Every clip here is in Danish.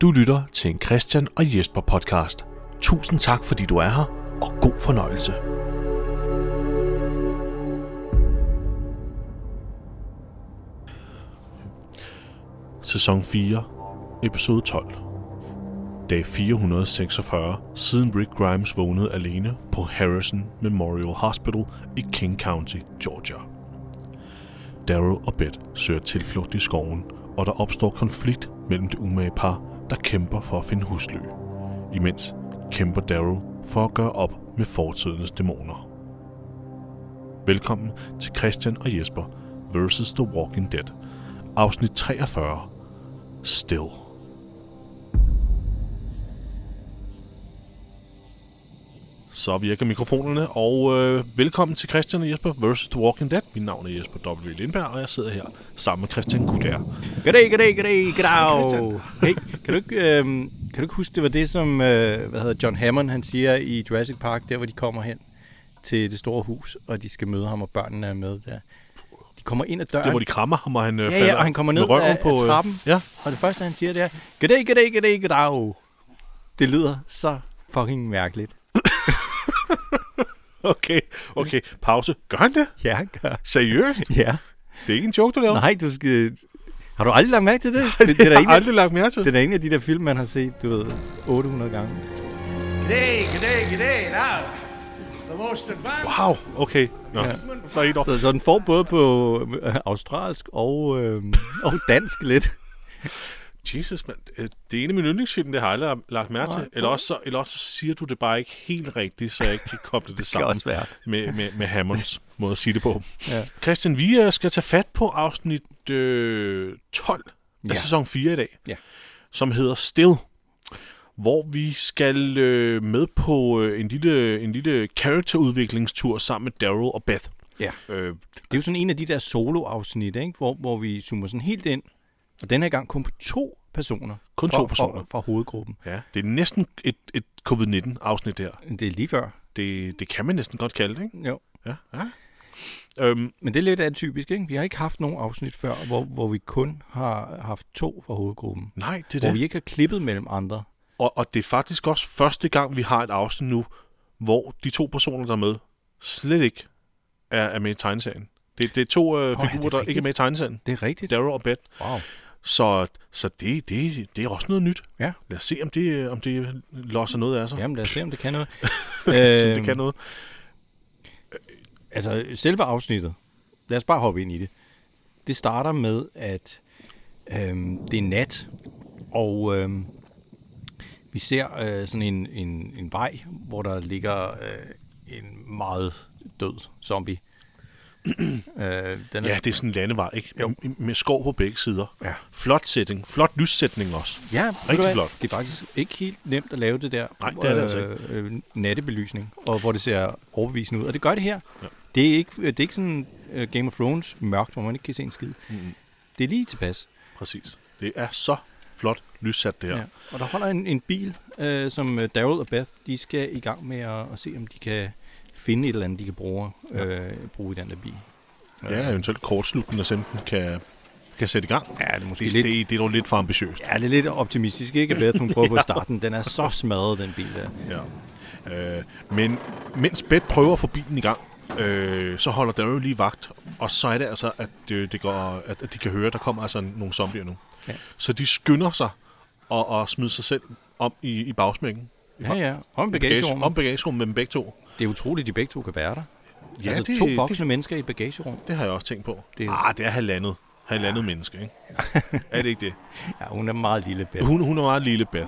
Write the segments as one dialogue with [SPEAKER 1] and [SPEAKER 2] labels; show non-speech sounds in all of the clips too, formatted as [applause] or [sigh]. [SPEAKER 1] Du lytter til en Christian og Jesper podcast. Tusind tak, fordi du er her, og god fornøjelse. Sæson 4, episode 12. Dag 446, siden Rick Grimes vågnede alene på Harrison Memorial Hospital i King County, Georgia. Darrow og Beth søger tilflugt i skoven, og der opstår konflikt mellem det umage par, der kæmper for at finde husly. Imens kæmper Darrow for at gøre op med fortidens dæmoner. Velkommen til Christian og Jesper vs. The Walking Dead, afsnit 43, Still. Så virker mikrofonerne, og øh, velkommen til Christian og Jesper vs. The Walking Dead. Mit navn er Jesper W. Lindberg, og jeg sidder her sammen med Christian Kuder.
[SPEAKER 2] Goddag, goddag, goddag, goddag. Hey, kan du ikke, øhm, kan du ikke huske, det var det, som øh, hvad hedder John Hammond han siger i Jurassic Park, der hvor de kommer hen til det store hus, og de skal møde ham, og børnene er med der. De kommer ind ad døren,
[SPEAKER 1] Der, hvor de krammer ham, og han øh,
[SPEAKER 2] ja,
[SPEAKER 1] falder
[SPEAKER 2] ja, og han kommer
[SPEAKER 1] med
[SPEAKER 2] ned
[SPEAKER 1] røven
[SPEAKER 2] ad,
[SPEAKER 1] på,
[SPEAKER 2] på,
[SPEAKER 1] øh,
[SPEAKER 2] ad trappen,
[SPEAKER 1] Ja,
[SPEAKER 2] og det første, han siger, det er, goddag, goddag, goddag, goddag. Det lyder så fucking mærkeligt.
[SPEAKER 1] okay, okay. Pause. Gør han det?
[SPEAKER 2] Ja, han gør.
[SPEAKER 1] Seriøst?
[SPEAKER 2] Ja.
[SPEAKER 1] Det er ikke en joke, du laver?
[SPEAKER 2] Nej, du skal... Har du aldrig lagt mærke til det?
[SPEAKER 1] det, det
[SPEAKER 2] da
[SPEAKER 1] har [laughs]
[SPEAKER 2] en
[SPEAKER 1] jeg
[SPEAKER 2] af-
[SPEAKER 1] aldrig lagt mere til.
[SPEAKER 2] det er da en af de der film, man har set, du ved, 800 gange.
[SPEAKER 3] G'day, g'day, g'day. Now, the most advanced.
[SPEAKER 1] Wow, okay. Nå,
[SPEAKER 2] Ja.
[SPEAKER 1] der er et år.
[SPEAKER 2] Så, så den får både på øh, australsk og, øh, og dansk lidt.
[SPEAKER 1] Jesus, mand. Øh, Det er en af mine yndlingsfilm, det har jeg aldrig lagt mærke til. Eller også, så, eller også så siger du det bare ikke helt rigtigt, [laughs] så jeg ikke kan koble det
[SPEAKER 2] [laughs] Det kan
[SPEAKER 1] sammen
[SPEAKER 2] også være.
[SPEAKER 1] med, med, med [laughs] Hammonds måde at sige det på.
[SPEAKER 2] Ja.
[SPEAKER 1] Christian, vi øh, skal tage fat på afsnit øh, 12 af ja.
[SPEAKER 2] Ja.
[SPEAKER 1] sæson 4 i dag,
[SPEAKER 2] Ja.
[SPEAKER 1] som hedder Still, hvor vi skal øh, med på øh, en lille, en lille karakterudviklingstur sammen med Daryl og Beth.
[SPEAKER 2] Ja.
[SPEAKER 1] Øh,
[SPEAKER 2] Det er jo sådan en af de der solo-afsnit, ikke? Hvor, hvor vi zoomer sådan helt ind. Og den her gang kun på to personer.
[SPEAKER 1] Kun
[SPEAKER 2] fra,
[SPEAKER 1] to personer.
[SPEAKER 2] Fra, fra hovedgruppen.
[SPEAKER 1] ja. Det er næsten et, et covid-19-afsnit der.
[SPEAKER 2] Det er lige før.
[SPEAKER 1] Det, det kan man næsten godt kalde det, ikke?
[SPEAKER 2] Jo.
[SPEAKER 1] Ja. ja. Øhm,
[SPEAKER 2] Men det er lidt atypisk, ikke? Vi har ikke haft nogen afsnit før, hvor, hvor vi kun har haft to fra hovedgruppen.
[SPEAKER 1] nej, det er
[SPEAKER 2] Hvor
[SPEAKER 1] det.
[SPEAKER 2] vi ikke har klippet mellem andre.
[SPEAKER 1] Og, og det er faktisk også første gang, vi har et afsnit nu, hvor de to personer, der er med, slet ikke er, er med i tegneserien. Det, det er to øh,
[SPEAKER 2] er det
[SPEAKER 1] figurer, der ikke er
[SPEAKER 2] rigtigt?
[SPEAKER 1] med i tegneserien.
[SPEAKER 2] Det er rigtigt.
[SPEAKER 1] Daryl og Beth.
[SPEAKER 2] Wow.
[SPEAKER 1] Så, så det, det, det er også noget nyt.
[SPEAKER 2] Ja.
[SPEAKER 1] Lad os se, om det, øh, om det losser noget af sig.
[SPEAKER 2] Jamen lad os se, om det kan noget.
[SPEAKER 1] [laughs] Så
[SPEAKER 2] Øhm,
[SPEAKER 1] det kan noget.
[SPEAKER 2] Altså, selve afsnittet, lad os bare hoppe ind i det. Det starter med, at øhm, det er nat, og øhm, vi ser øh, sådan en, en, en vej, hvor der ligger øh, en meget død zombie. [clears throat] øh, den er,
[SPEAKER 1] Ja, det er sådan en landevej, ikke?
[SPEAKER 2] Jo.
[SPEAKER 1] Med, med skov på begge sider.
[SPEAKER 2] Ja.
[SPEAKER 1] Flot sætning. Flot lyssætning også.
[SPEAKER 2] ja
[SPEAKER 1] rigtig
[SPEAKER 2] rigtig
[SPEAKER 1] flot.
[SPEAKER 2] flot. Det er faktisk ikke helt nemt at lave det der
[SPEAKER 1] Nej, det er det altså
[SPEAKER 2] øh, øh, nattebelysning, og hvor det ser overbevisende ud. Og det gør det her. Ja. Det, er ikke, det er ikke sådan øh, Game of Thrones mørkt, hvor man ikke kan se en skid. Mm. Det er lige tilpas.
[SPEAKER 1] Præcis. Det er så flot lyssat, det her.
[SPEAKER 2] Ja. Og der holder en, en bil, øh, som øh, Daryl og Beth, de skal i gang med at, at se, om de kan finde et eller andet, de kan bruge, øh, bruge i den der bil.
[SPEAKER 1] Ja, eventuelt kortslutningen af senten kan, kan sætte i gang.
[SPEAKER 2] Ja, det er måske
[SPEAKER 1] Det,
[SPEAKER 2] lidt,
[SPEAKER 1] det, det er dog lidt for ambitiøst.
[SPEAKER 2] ja, det er lidt optimistisk, ikke? At Beth, hun prøver på starten. Den er så smadret, den bil der.
[SPEAKER 1] Ja. Øh, men mens Beth prøver at få bilen i gang, øh, så holder Daryl lige vagt, og så er det altså, at, øh, det går, at, at de kan høre, at der kommer altså nogle zombier nu.
[SPEAKER 2] Ja.
[SPEAKER 1] Så de skynder sig og, og smider sig selv om i, i bagsmækken.
[SPEAKER 2] Ja, ja.
[SPEAKER 1] Bagage-
[SPEAKER 2] Om bagagerummet.
[SPEAKER 1] Om bagagerummet med dem begge to.
[SPEAKER 2] Det er utroligt, at de begge to kan være der.
[SPEAKER 1] Ja,
[SPEAKER 2] Ja, altså
[SPEAKER 1] det-
[SPEAKER 2] to
[SPEAKER 1] det-
[SPEAKER 2] voksne mennesker i et bagagerum.
[SPEAKER 1] Det har jeg også tænkt på. Det...
[SPEAKER 2] Det-
[SPEAKER 1] Ah, det er halvandet. Halvandet [laughs] ja. menneske, ikke? er det ikke det?
[SPEAKER 2] Ja, hun er meget lille, Beth.
[SPEAKER 1] Hun, hun er meget lille, Beth.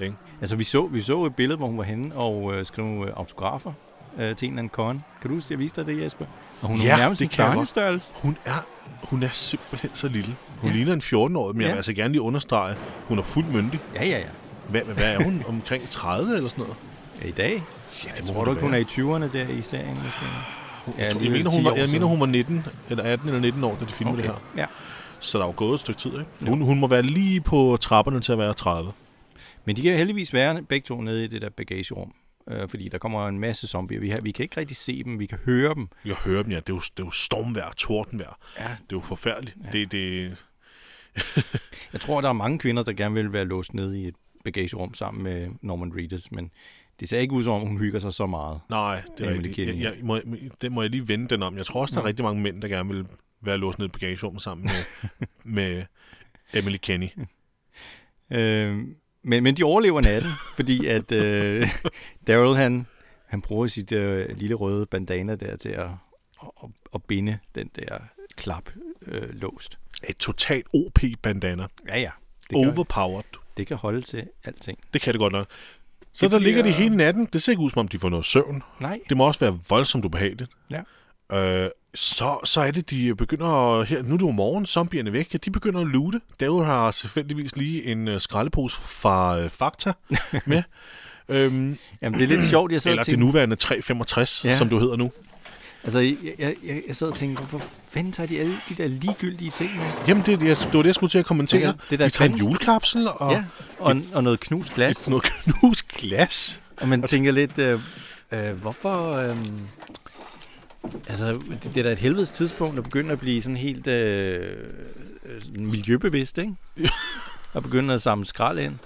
[SPEAKER 2] Ja.
[SPEAKER 1] Ikke?
[SPEAKER 2] Altså, vi så, vi så et billede, hvor hun var henne og øh, skrev øh, autografer øh, til en eller anden con. Kan du huske, jeg viste dig det, Jesper? Og hun er
[SPEAKER 1] Ja,
[SPEAKER 2] jo nærmest
[SPEAKER 1] det
[SPEAKER 2] en
[SPEAKER 1] kan jeg godt.
[SPEAKER 2] børnestørrelse.
[SPEAKER 1] Hun er, hun er simpelthen så lille. Hun ja.
[SPEAKER 2] Ja.
[SPEAKER 1] ligner en 14-årig, men ja. jeg vil
[SPEAKER 2] Ja.
[SPEAKER 1] altså gerne lige understrege, hun er fuldt myndig.
[SPEAKER 2] Ja, ja, ja.
[SPEAKER 1] Hvad, hvad er hun? Omkring 30 eller sådan noget?
[SPEAKER 2] I dag?
[SPEAKER 1] Ja, det
[SPEAKER 2] Tror du ikke, hun er i 20'erne der i serien? Måske? Ja,
[SPEAKER 1] Jeg, tror, jeg,
[SPEAKER 2] alligevel
[SPEAKER 1] mener, hun
[SPEAKER 2] 10
[SPEAKER 1] var,
[SPEAKER 2] år
[SPEAKER 1] jeg mener,
[SPEAKER 2] siden.
[SPEAKER 1] hun var 19, eller 18 eller 19 år, da de filmede okay. det her.
[SPEAKER 2] Ja.
[SPEAKER 1] Så der er jo gået et stykke tid, ikke? Hun, hun må være lige på trapperne til at være 30.
[SPEAKER 2] Men de kan heldigvis være begge to nede i det der bagagerum. Øh, fordi der kommer en masse zombier. Vi, har, vi kan ikke rigtig se dem, vi kan høre dem.
[SPEAKER 1] Jeg hører dem, ja. Det er jo, det er jo stormvejr, tordenvejr.
[SPEAKER 2] Ja.
[SPEAKER 1] Det er jo forfærdeligt. Ja. Det, det,
[SPEAKER 2] Jeg tror, der er mange kvinder, der gerne vil være låst nede i et bagagerum sammen med Norman Reedus, men det ser ikke ud som om, hun hygger sig så meget.
[SPEAKER 1] Nej, det er
[SPEAKER 2] Emily
[SPEAKER 1] rigtigt. Jeg,
[SPEAKER 2] Kidding.
[SPEAKER 1] jeg, må, det må jeg lige vende den om. Jeg tror også, der er rigtig mange mænd, der gerne vil være låst ned i bagagerummet sammen
[SPEAKER 2] [laughs]
[SPEAKER 1] med, med Emily Kenny.
[SPEAKER 2] Øh, men, men de overlever natten, fordi at øh, [laughs] Daryl, han, han bruger sit øh, lille røde bandana der til at, at, at binde den der klap øh, låst.
[SPEAKER 1] Et totalt OP-bandana.
[SPEAKER 2] Ja, ja. Det kan,
[SPEAKER 1] Overpowered.
[SPEAKER 2] det kan holde til alting.
[SPEAKER 1] Det kan det godt nok. Så
[SPEAKER 2] Det
[SPEAKER 1] der ligger de
[SPEAKER 2] bliver-
[SPEAKER 1] hele natten. Det ser ikke ud, som om de får noget søvn.
[SPEAKER 2] Nej.
[SPEAKER 1] Det må også være voldsomt ubehageligt.
[SPEAKER 2] Ja.
[SPEAKER 1] Øh, så, så er det, de begynder... Her, nu er det jo morgen, zombierne er væk. Ja, de begynder at loote. David har selvfølgelig lige en øh, skraldepose fra øh,
[SPEAKER 2] [laughs]
[SPEAKER 1] Fakta med. øhm,
[SPEAKER 2] Jamen, det er lidt sjovt, jeg sad
[SPEAKER 1] eller
[SPEAKER 2] og
[SPEAKER 1] det
[SPEAKER 2] tænkte,
[SPEAKER 1] nuværende 365, ja.
[SPEAKER 2] Ja.
[SPEAKER 1] som du hedder nu.
[SPEAKER 2] altså, jeg, jeg, jeg, jeg sad og tænkte, hvorfor fanden tager de alle de der ligegyldige ting med?
[SPEAKER 1] Jamen, det, er det, jeg, det var det, jeg skulle til at kommentere.
[SPEAKER 2] Okay, det der
[SPEAKER 1] de tager en
[SPEAKER 2] kunst.
[SPEAKER 1] julekapsel og
[SPEAKER 2] Ja,
[SPEAKER 1] ja.
[SPEAKER 2] og, og noget knust glas.
[SPEAKER 1] noget knust glas.
[SPEAKER 2] Og man tænker lidt, øh, øh, hvorfor... Øh, altså, det, det er da et helvedes tidspunkt at begynde at blive sådan helt øh, øh, sådan miljøbevidst, [laughs] ikke? Og begynde at samle skrald ind.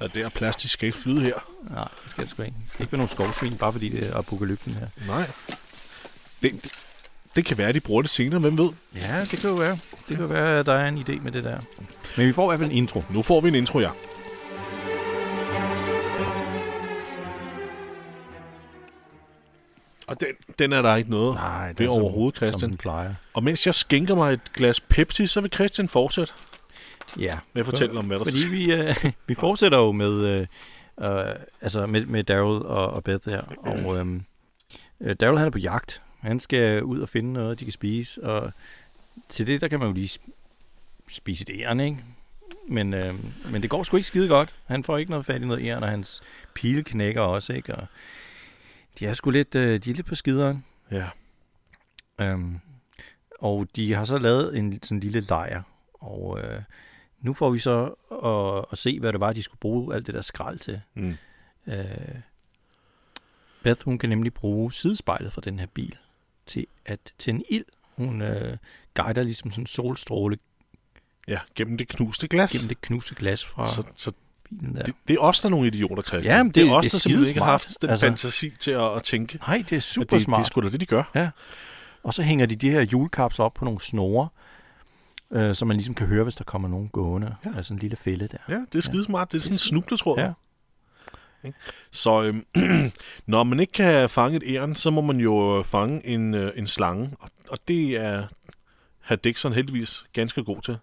[SPEAKER 1] Ja, det er plastisk skal ikke flyde her.
[SPEAKER 2] Nej, det skal det sgu ikke. Det skal ikke være nogen skovsvin, bare fordi det er apokalypten her.
[SPEAKER 1] Nej. Det, det, det kan være, at de bruger det senere, hvem ved.
[SPEAKER 2] Ja, det kan jo være. Det kan være, at der er en idé med det der. Men vi får i hvert fald en intro.
[SPEAKER 1] Nu får vi en intro, ja. Og den, den er der ikke noget
[SPEAKER 2] Nej, det
[SPEAKER 1] ved
[SPEAKER 2] er som-
[SPEAKER 1] overhovedet,
[SPEAKER 2] Som
[SPEAKER 1] Christian.
[SPEAKER 2] den plejer.
[SPEAKER 1] Og mens jeg skænker mig et glas Pepsi, så vil Christian fortsætte
[SPEAKER 2] Ja.
[SPEAKER 1] med at fortælle om, hvad der
[SPEAKER 2] Fordi vi, øh, [laughs] vi fortsætter jo med, øh, øh, altså med, med Daryl og, og Beth her. Og øh, øh, Daryl han er på jagt. Han skal ud og finde noget, de kan spise. Og til det, der kan man jo lige sp- spise et æren, ikke? Men, øh, men det går sgu ikke skide godt. Han får ikke noget fat i noget æren, og hans pile knækker også, ikke? Og de er sgu lidt, øh, de er lidt på skideren.
[SPEAKER 1] Ja.
[SPEAKER 2] Øhm, og de har så lavet en sådan lille lejr, og øh, nu får vi så at, at se, hvad det var, de skulle bruge alt det der skrald til.
[SPEAKER 1] Mm.
[SPEAKER 2] Øh, Beth, hun kan nemlig bruge sidespejlet fra den her bil til at tænde ild. Hun øh, guider ligesom sådan en solstråle
[SPEAKER 1] Ja, gennem det knuste glas.
[SPEAKER 2] gennem det knuste glas fra
[SPEAKER 1] Så, så
[SPEAKER 2] bilen der.
[SPEAKER 1] det, det er os, der er nogle idioter, Christian.
[SPEAKER 2] Jamen,
[SPEAKER 1] det,
[SPEAKER 2] det-
[SPEAKER 1] er os,
[SPEAKER 2] det er
[SPEAKER 1] der simpelthen ikke har
[SPEAKER 2] skidesmart.
[SPEAKER 1] haft den altså,
[SPEAKER 2] Altså-
[SPEAKER 1] fantasi til at, at tænke.
[SPEAKER 2] Nej, det er
[SPEAKER 1] at
[SPEAKER 2] super
[SPEAKER 1] det, det er
[SPEAKER 2] smart.
[SPEAKER 1] sgu da det, de gør.
[SPEAKER 2] Og så hænger de de her julekaps op på nogle snore, øh, så man ligesom kan høre, hvis der kommer nogen gående.
[SPEAKER 1] Ja.
[SPEAKER 2] Ja. Altså en lille fælde der.
[SPEAKER 1] Ja, det er skidesmart. Det er sådan en snubletråd.
[SPEAKER 2] Ja.
[SPEAKER 1] Så øhm, [clears throat] når man ikke kan fange et æren, så må man jo øh, fange en, øh, en slange. Og, og det er herr Dixon heldigvis ganske god til.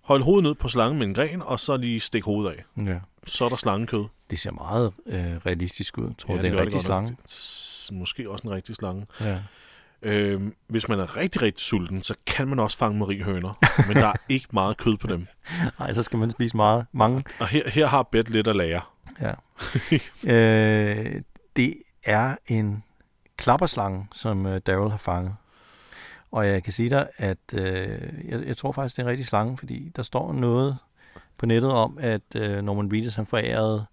[SPEAKER 1] Hold hovedet ned på slangen med en gren, og så lige stik hovedet af.
[SPEAKER 2] ja.
[SPEAKER 1] Så er der slangekød.
[SPEAKER 2] Det ser meget øh, realistisk ud. Jeg tror, ja,
[SPEAKER 1] Ja,
[SPEAKER 2] det, det er
[SPEAKER 1] gør
[SPEAKER 2] en rigtig
[SPEAKER 1] godt nok.
[SPEAKER 2] slange.
[SPEAKER 1] S- Måske også en rigtig slange.
[SPEAKER 2] Ja.
[SPEAKER 1] Øhm, hvis man er rigtig, rigtig sulten, så kan man også fange mariehøner. men der
[SPEAKER 2] [laughs]
[SPEAKER 1] er ikke meget kød på dem.
[SPEAKER 2] Ej, så skal man spise meget. Mange.
[SPEAKER 1] Og her, her har Bet lidt at lære.
[SPEAKER 2] Ja. øh, det er en klapperslange, som øh, Daryl har fanget. Og jeg kan sige dig, at øh, jeg, jeg tror faktisk, det er en rigtig slange, fordi der står noget på nettet om, at øh, Norman Reedus, han forærede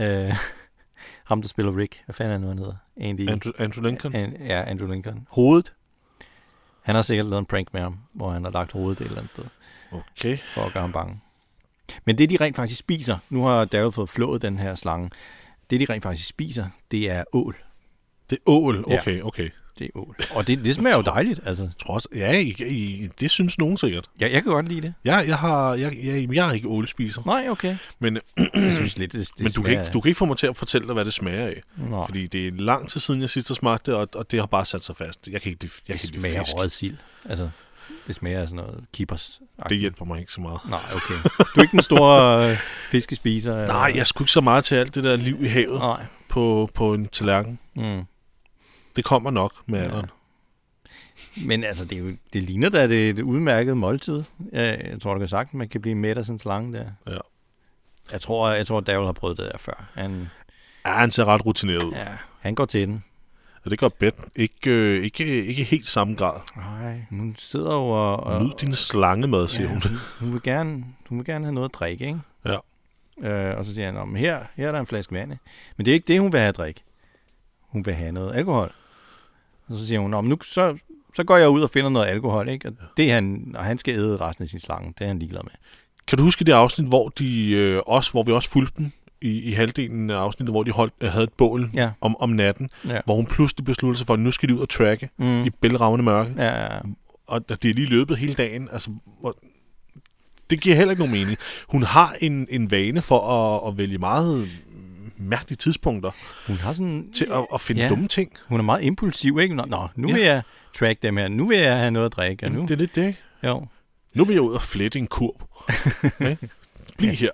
[SPEAKER 2] øh, [laughs] ham, der spiller Rick. Hvad fanden er nu, han hedder? Andy.
[SPEAKER 1] Andrew, Andrew Lincoln.
[SPEAKER 2] An, ja, Andrew Lincoln. Hovedet. Han har sikkert lavet en prank med ham, hvor han har lagt hovedet et eller andet sted.
[SPEAKER 1] Okay.
[SPEAKER 2] for at gøre ham bange. Men det, de rent faktisk spiser, nu har Daryl fået flået den her slange, det, de rent faktisk spiser, det er ål.
[SPEAKER 1] Det er ål.
[SPEAKER 2] Ja.
[SPEAKER 1] Okay, okay.
[SPEAKER 2] Det er ål. Og det, det smager jo dejligt, altså.
[SPEAKER 1] Trods, ja, I, I, det synes nogen sikkert.
[SPEAKER 2] Ja, jeg kan godt lide det.
[SPEAKER 1] Jeg, jeg, har, jeg, jeg, jeg er ikke ålspiser,
[SPEAKER 2] Nej, okay.
[SPEAKER 1] men,
[SPEAKER 2] Jeg synes lidt, det, det
[SPEAKER 1] men du, kan ikke, du kan ikke få mig til at fortælle dig, hvad det smager af.
[SPEAKER 2] Nå,
[SPEAKER 1] Fordi det er lang tid siden, jeg sidst har smagt det, og, og det har bare sat sig fast. Jeg kan ikke lide, jeg
[SPEAKER 2] det
[SPEAKER 1] kan ikke lide
[SPEAKER 2] smager
[SPEAKER 1] fisk.
[SPEAKER 2] røget sild. Altså, det smager af sådan noget kippers.
[SPEAKER 1] Det hjælper mig ikke så meget.
[SPEAKER 2] Nej, okay. [laughs] Du er ikke den store øh, fiskespiser? eller-
[SPEAKER 1] Nej, jeg skulle ikke så meget til alt det der liv i havet
[SPEAKER 2] Nej.
[SPEAKER 1] på, på en tallerken.
[SPEAKER 2] Mm.
[SPEAKER 1] Det kommer nok med alderen.
[SPEAKER 2] Men altså, det, er jo, det ligner da det, et udmærket måltid. Jeg, jeg tror, du kan sagt, man kan blive mæt af sådan en slange der.
[SPEAKER 1] Ja.
[SPEAKER 2] Jeg tror, jeg tror, Daryl har prøvet det der før. Han,
[SPEAKER 1] Ja, han ser ret rutineret ud.
[SPEAKER 2] ja, han går til den.
[SPEAKER 1] Og det gør Bet ikke, øh, ikke, ikke helt samme grad.
[SPEAKER 2] Nej, hun sidder jo og... og
[SPEAKER 1] Nyd din slangemad, siger
[SPEAKER 2] ja,
[SPEAKER 1] hun.
[SPEAKER 2] hun, hun, vil gerne, hun vil gerne have noget at drikke, ikke?
[SPEAKER 1] Ja.
[SPEAKER 2] Øh, og så siger han, "Nå, men her, her er der en flaske vand. ikke?" Men det er ikke det, hun vil have at drikke. Hun vil have noget alkohol. Og så siger hun, "Nå, men nu så Så går jeg ud og finder noget alkohol, ikke? Og, det er han, og han skal æde resten af sin slange. Det er han ligeglad med.
[SPEAKER 1] Kan du huske det afsnit, hvor, de, øh, også, hvor vi også fulgte dem i, i halvdelen af afsnittet, hvor de holdt, øh, havde et bål
[SPEAKER 2] Ja.
[SPEAKER 1] om, om natten,
[SPEAKER 2] Ja.
[SPEAKER 1] hvor hun pludselig besluttede sig for, at nu skal de ud og tracke mm. i bælragende mørke,
[SPEAKER 2] Ja, ja, ja.
[SPEAKER 1] og det er lige løbet hele dagen. Altså, hvor, det giver heller ikke nogen mening. Hun har en, en vane for at, at vælge meget mærkelige tidspunkter
[SPEAKER 2] Hun har sådan...
[SPEAKER 1] til at, at finde
[SPEAKER 2] Ja.
[SPEAKER 1] ja. dumme ting.
[SPEAKER 2] Hun er meget impulsiv, ikke? Nå, nå nu
[SPEAKER 1] Ja.
[SPEAKER 2] ja. vil jeg track dem her. Nu vil jeg have noget at drikke. Og nu,
[SPEAKER 1] Det er lidt det, ikke?
[SPEAKER 2] jo.
[SPEAKER 1] Nu vil jeg ud og flette en
[SPEAKER 2] [laughs]
[SPEAKER 1] kurv. Okay? Bliv her.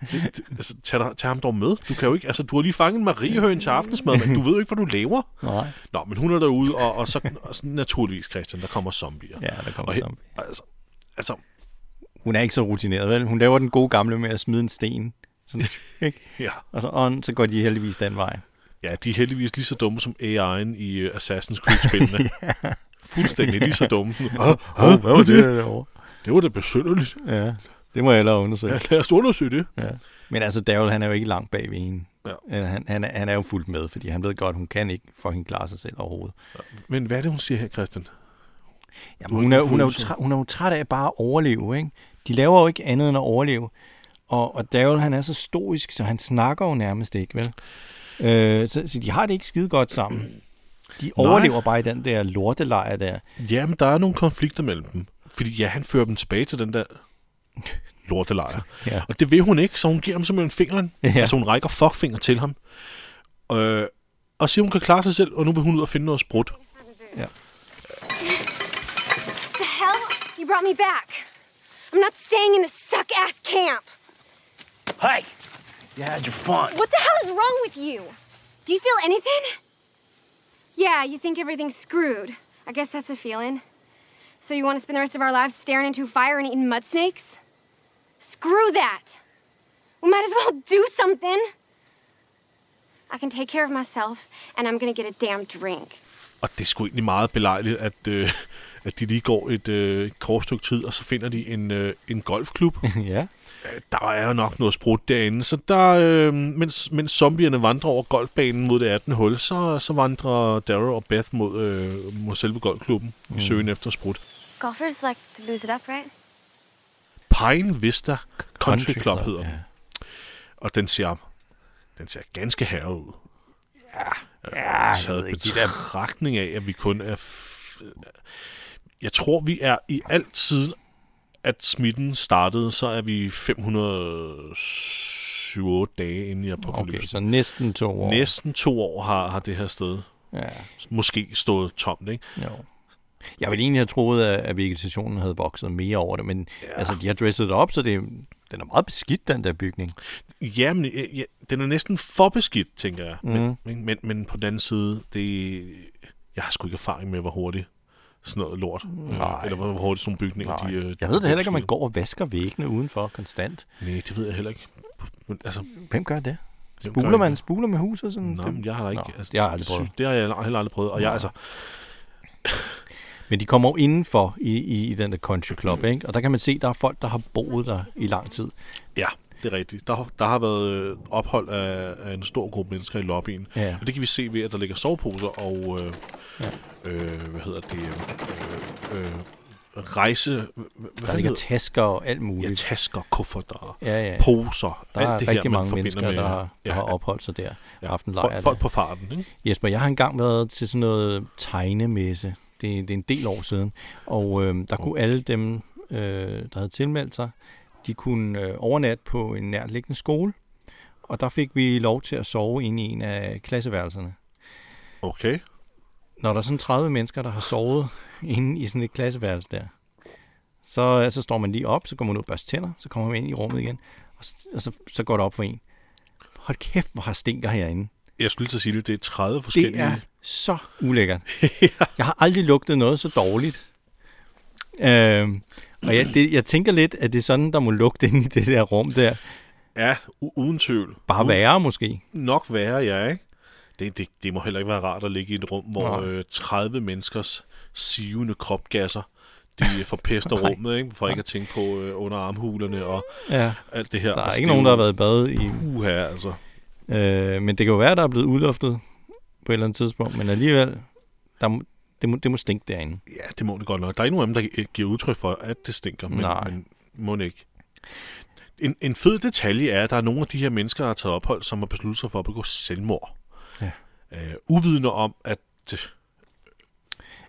[SPEAKER 1] Det, det, altså, tag, dig, tag ham dog med. Du kan jo ikke, altså, du har lige fanget en mariehøn til aftensmad, men du ved jo ikke, hvad du laver.
[SPEAKER 2] Nej.
[SPEAKER 1] Nå, men hun er derude, og, og, så, og så naturligvis, Christian, der kommer zombier.
[SPEAKER 2] Ja, der kommer
[SPEAKER 1] Og he-
[SPEAKER 2] zombie.
[SPEAKER 1] Altså, altså,
[SPEAKER 2] Hun er ikke så rutineret, vel? Hun laver den gode gamle med at smide en sten. Sådan, ikke?
[SPEAKER 1] ja.
[SPEAKER 2] Og så, Altså, on, så går de heldigvis den vej.
[SPEAKER 1] ja, de er heldigvis lige så dumme som AI'en i øh, Assassin's Creed-spillene.
[SPEAKER 2] [laughs]
[SPEAKER 1] ja. Fuldstændig lige så dumme. Åh,
[SPEAKER 2] Åh, hvad [laughs] var det derovre?
[SPEAKER 1] Det var da besynderligt.
[SPEAKER 2] Ja, det må jeg hellere undersøge.
[SPEAKER 1] Ja, lad os undersøge det.
[SPEAKER 2] Ja. Men altså, Daryl, han er jo ikke langt bag ved hende.
[SPEAKER 1] Ja.
[SPEAKER 2] Eller Han, han, er- han er jo fuldt med, fordi han ved godt, hun kan ikke fucking klare sig selv overhovedet.
[SPEAKER 1] Men hvad er det, hun siger her, Christian?
[SPEAKER 2] Jamen,
[SPEAKER 1] har
[SPEAKER 2] hun, er,
[SPEAKER 1] ikke
[SPEAKER 2] hun, er jo
[SPEAKER 1] følelser.
[SPEAKER 2] træ, hun er jo træt af bare at overleve, ikke? De laver jo ikke andet end at overleve. Og, og Daryl, han er så stoisk, så han snakker jo nærmest ikke, vel? Øh, så, så de har det ikke skide godt sammen. De
[SPEAKER 1] Nej.
[SPEAKER 2] overlever bare i den der lortelejr der.
[SPEAKER 1] Ja, men der er nogle konflikter mellem dem. Fordi ja, han fører dem tilbage til
[SPEAKER 2] [laughs]
[SPEAKER 1] den der lortelejr.
[SPEAKER 2] Ja.
[SPEAKER 1] Og det vil hun ikke, så hun giver ham simpelthen fingeren.
[SPEAKER 2] Ja.
[SPEAKER 1] Ja. Altså hun rækker fuckfinger til ham. Øh, og siger, hun kan klare sig selv, og nu vil hun ud og finde noget sprut.
[SPEAKER 4] the hell? You brought me back. I'm not staying in this suck ass camp.
[SPEAKER 5] Hey, you had your fun.
[SPEAKER 4] What the hell is wrong with you? Do you feel anything? Yeah, you think everything's screwed. I guess that's a feeling. So you want to spend the rest of our lives staring into fire and eating mud snakes? Screw that. We might as well [laughs] do something. I can take care of myself, and I'm gonna get a damn drink.
[SPEAKER 1] Og det er sgu egentlig meget belejligt, at, øh, at de lige går et øh, et kort stykke tid, og så finder de en, øh, en golfklub.
[SPEAKER 2] [laughs] ja.
[SPEAKER 1] Øh, der er jo nok noget sprudt derinde. Så der, øh, mens, mens zombierne vandrer over golfbanen mod det 18. hul, så, så vandrer Darrow og Beth mod, øh, mod selve golfklubben mm. i søgen efter sprut.
[SPEAKER 4] Golfers like to booze it up, right?
[SPEAKER 1] Pine Vista Country Club hedder den.
[SPEAKER 2] ja.
[SPEAKER 1] Og den ser, den ser ganske herre ud.
[SPEAKER 2] Ja, jeg ved
[SPEAKER 1] Taget
[SPEAKER 2] ikke, de der
[SPEAKER 1] betragtning af, at vi kun er... F- jeg tror, vi er i alt siden, at smitten startede, så er vi 507 dage inde i apokalypsen.
[SPEAKER 2] Okay, så næsten to år.
[SPEAKER 1] Næsten to år har, har det her sted
[SPEAKER 2] Ja,
[SPEAKER 1] måske stået tomt, ikke?
[SPEAKER 2] jo. Jeg ville egentlig have troet, at at vegetationen havde vokset mere over det, men ja. altså, de har dresset det op, så det, den er meget beskidt, den der bygning.
[SPEAKER 1] Jamen, øh, ja, den er næsten for beskidt, tænker jeg. Men,
[SPEAKER 2] Mhm.
[SPEAKER 1] men, men, men på den anden side, det, jeg har sgu ikke erfaring med, hvor hurtigt sådan noget lort, Nej. eller hvor hvor hurtigt sådan nogle bygninger, de... øh,
[SPEAKER 2] Jeg ved det heller ikke, om man
[SPEAKER 1] opslider.
[SPEAKER 2] går og vasker væggene udenfor konstant.
[SPEAKER 1] Nej, det ved jeg heller ikke. Men, altså,
[SPEAKER 2] Hvem gør det?
[SPEAKER 1] Hvem
[SPEAKER 2] Spuler
[SPEAKER 1] gør
[SPEAKER 2] man
[SPEAKER 1] det?
[SPEAKER 2] spuler med huset? Sådan,
[SPEAKER 1] nej, men jeg har da ikke...
[SPEAKER 2] Nå,
[SPEAKER 1] altså,
[SPEAKER 2] det har jeg aldrig prøvet.
[SPEAKER 1] sy- Det har jeg heller aldrig prøvet, og jeg, altså,
[SPEAKER 2] Men de kommer jo indenfor i, i, i den der country club, ikke? og der kan man se, at der er folk, der har boet der i lang tid.
[SPEAKER 1] Ja, det er rigtigt. Der, har- der har været øh, ophold af, af en stor gruppe mennesker i lobbyen.
[SPEAKER 2] Ja.
[SPEAKER 1] Og det kan vi se ved, at der ligger soveposer og... Øh, ja. øh, hvad hedder det? Øh, øh, rejse... Hvad
[SPEAKER 2] Der
[SPEAKER 1] fanden
[SPEAKER 2] ligger
[SPEAKER 1] hedder-
[SPEAKER 2] tasker og alt
[SPEAKER 1] Ja,
[SPEAKER 2] muligt.
[SPEAKER 1] tasker, kufferter,
[SPEAKER 2] Ja, ja.
[SPEAKER 1] poser.
[SPEAKER 2] Der
[SPEAKER 1] alt
[SPEAKER 2] er
[SPEAKER 1] det
[SPEAKER 2] rigtig
[SPEAKER 1] her, man
[SPEAKER 2] mange
[SPEAKER 1] forbinder
[SPEAKER 2] mennesker,
[SPEAKER 1] med,
[SPEAKER 2] der, har, der
[SPEAKER 1] ja,
[SPEAKER 2] har opholdt sig der. Ja. Aftenlejr.
[SPEAKER 1] Folk, folk på farten, ikke?
[SPEAKER 2] Jesper, jeg har engang været til sådan noget tegnemesse. Det, det er en del år siden. Og øh, der kunne alle dem, øh, der havde tilmeldt sig, de kunne øh, overnatte på en nærliggende skole. Og der fik vi lov til at sove inde i en af klasseværelserne.
[SPEAKER 1] Okay.
[SPEAKER 2] Når der er sådan 30 mennesker, der har sovet [laughs] inde i sådan et klasseværelse der, så, øh, så står man lige op, så går man ud og børster tænder, så kommer man ind i rummet igen, og, så, og så, så går det op for en. Hold kæft, hvor har stinker herinde.
[SPEAKER 1] Jeg skulle lige til at sige det. Det er 30 forskellige...
[SPEAKER 2] Det er så ulækkert. Jeg har aldrig lugtet noget så dårligt. Øhm, og jeg, det, jeg tænker lidt, at det er sådan, der må lugte ind i det der rum der.
[SPEAKER 1] Ja, u- uden tvivl.
[SPEAKER 2] Bare værre måske.
[SPEAKER 1] nok være, ja, ikke? Det, det, det må heller ikke være rart at ligge i et rum, hvor
[SPEAKER 2] Nej.
[SPEAKER 1] øh, 30 menneskers sivende kropgasser, de forpester
[SPEAKER 2] [laughs]
[SPEAKER 1] rummet, ikke? For ikke at tænke på øh, underarmhulerne og
[SPEAKER 2] Ja.
[SPEAKER 1] alt det her.
[SPEAKER 2] Der er ikke nogen, der har været i bad i.
[SPEAKER 1] Uha, altså.
[SPEAKER 2] Øh, men det kan jo være, der er blevet udluftet på et eller andet tidspunkt. Men alligevel, der, må- Det må, det må stinke derinde.
[SPEAKER 1] Ja, det må det godt nok. Der er ikke nogen af dem, der giver udtryk for, at det stinker, men,
[SPEAKER 2] Nej.
[SPEAKER 1] men må det ikke. En, en fed detalje er, at der er nogle af de her mennesker, der har taget ophold, som har besluttet sig for at begå selvmord.
[SPEAKER 2] Ja.
[SPEAKER 1] Øh, uvidende om, at, øh,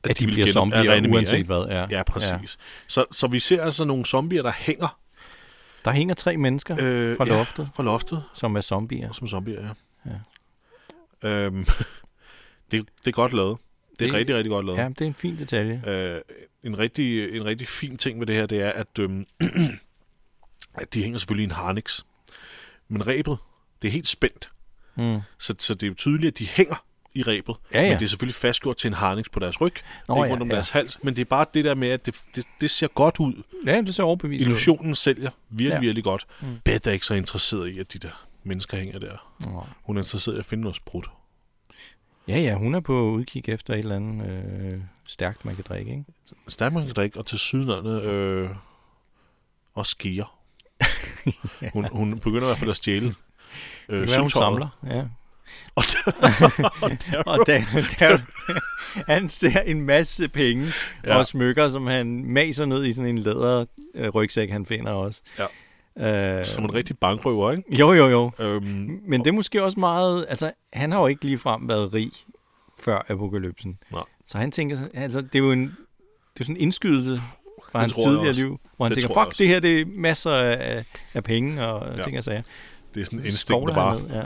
[SPEAKER 2] At, at de,
[SPEAKER 1] vil
[SPEAKER 2] bliver
[SPEAKER 1] gen-
[SPEAKER 2] zombier,
[SPEAKER 1] at reanimere,
[SPEAKER 2] uanset
[SPEAKER 1] ikke?
[SPEAKER 2] hvad. Ja,
[SPEAKER 1] Ja, præcis. Ja. Så, så vi ser altså nogle zombier, der hænger
[SPEAKER 2] Der hænger tre mennesker øh, fra loftet,
[SPEAKER 1] Ja, fra loftet,
[SPEAKER 2] som er zombier.
[SPEAKER 1] som zombier, ja. ja. Øhm, [laughs] det, det er godt lavet. Det er
[SPEAKER 2] Det-
[SPEAKER 1] det, rigtig, rigtig godt lavet.
[SPEAKER 2] Ja, det er en fin detalje.
[SPEAKER 1] Øh, en, rigtig, en rigtig fin ting ved det her, det er, at, øhm, [clears throat] at de hænger selvfølgelig i en harnix. Men rebet, det er helt spændt.
[SPEAKER 2] Mm.
[SPEAKER 1] Så, så det er jo tydeligt, at de hænger i rebet.
[SPEAKER 2] Ja, ja.
[SPEAKER 1] Men det er selvfølgelig fastgjort til en harnix på deres ryg.
[SPEAKER 2] Nå,
[SPEAKER 1] Nå, ikke
[SPEAKER 2] ja,
[SPEAKER 1] rundt om
[SPEAKER 2] ja.
[SPEAKER 1] deres hals. Men det er bare det der med, at det, det, det ser godt ud.
[SPEAKER 2] Ja, det ser overbevist ud.
[SPEAKER 1] Illusionen sælger virkelig,
[SPEAKER 2] Ja.
[SPEAKER 1] ja. virkelig godt. Mm. Beth er ikke så interesseret i, at de der mennesker hænger der.
[SPEAKER 2] Nå.
[SPEAKER 1] Hun er interesseret i at finde noget sprut.
[SPEAKER 2] Ja, ja, hun er på udkig efter et eller andet øh, stærkt, man kan drikke, ikke?
[SPEAKER 1] Stærkman kan drikke, og til sydlandet øh, og
[SPEAKER 2] [laughs]
[SPEAKER 1] skier. hun, hun begynder i hvert fald at stjæle øh,
[SPEAKER 2] Det kan være,
[SPEAKER 1] sølvtøjet.
[SPEAKER 2] hun samler. Ja.
[SPEAKER 1] [laughs] Og der,
[SPEAKER 2] Og der, der, han ser en masse penge ja.
[SPEAKER 1] Ja.
[SPEAKER 2] og smykker, som han maser ned i sådan en læder øh, rygsæk, han finder også.
[SPEAKER 1] Ja.
[SPEAKER 2] Øh, Mm.
[SPEAKER 1] som en rigtig bankrøver, ikke?
[SPEAKER 2] Jo, jo, jo.
[SPEAKER 1] Øhm,
[SPEAKER 2] Men det er måske også meget... Altså, han har jo ikke ligefrem været rig før apokalypsen.
[SPEAKER 1] nej,
[SPEAKER 2] Så han tænker... Altså, det er jo en, det er sådan en indskydelse fra hans
[SPEAKER 1] tror jeg
[SPEAKER 2] tidligere
[SPEAKER 1] også.
[SPEAKER 2] liv, hvor han
[SPEAKER 1] Det
[SPEAKER 2] tænker,
[SPEAKER 1] tror jeg
[SPEAKER 2] fuck,
[SPEAKER 1] også.
[SPEAKER 2] det her, det er masser af, af penge og ja.
[SPEAKER 1] Ja.
[SPEAKER 2] ting og sager.
[SPEAKER 1] det er sådan en
[SPEAKER 2] Så
[SPEAKER 1] instinkt,
[SPEAKER 2] skovler
[SPEAKER 1] der
[SPEAKER 2] han
[SPEAKER 1] bare,
[SPEAKER 2] ned,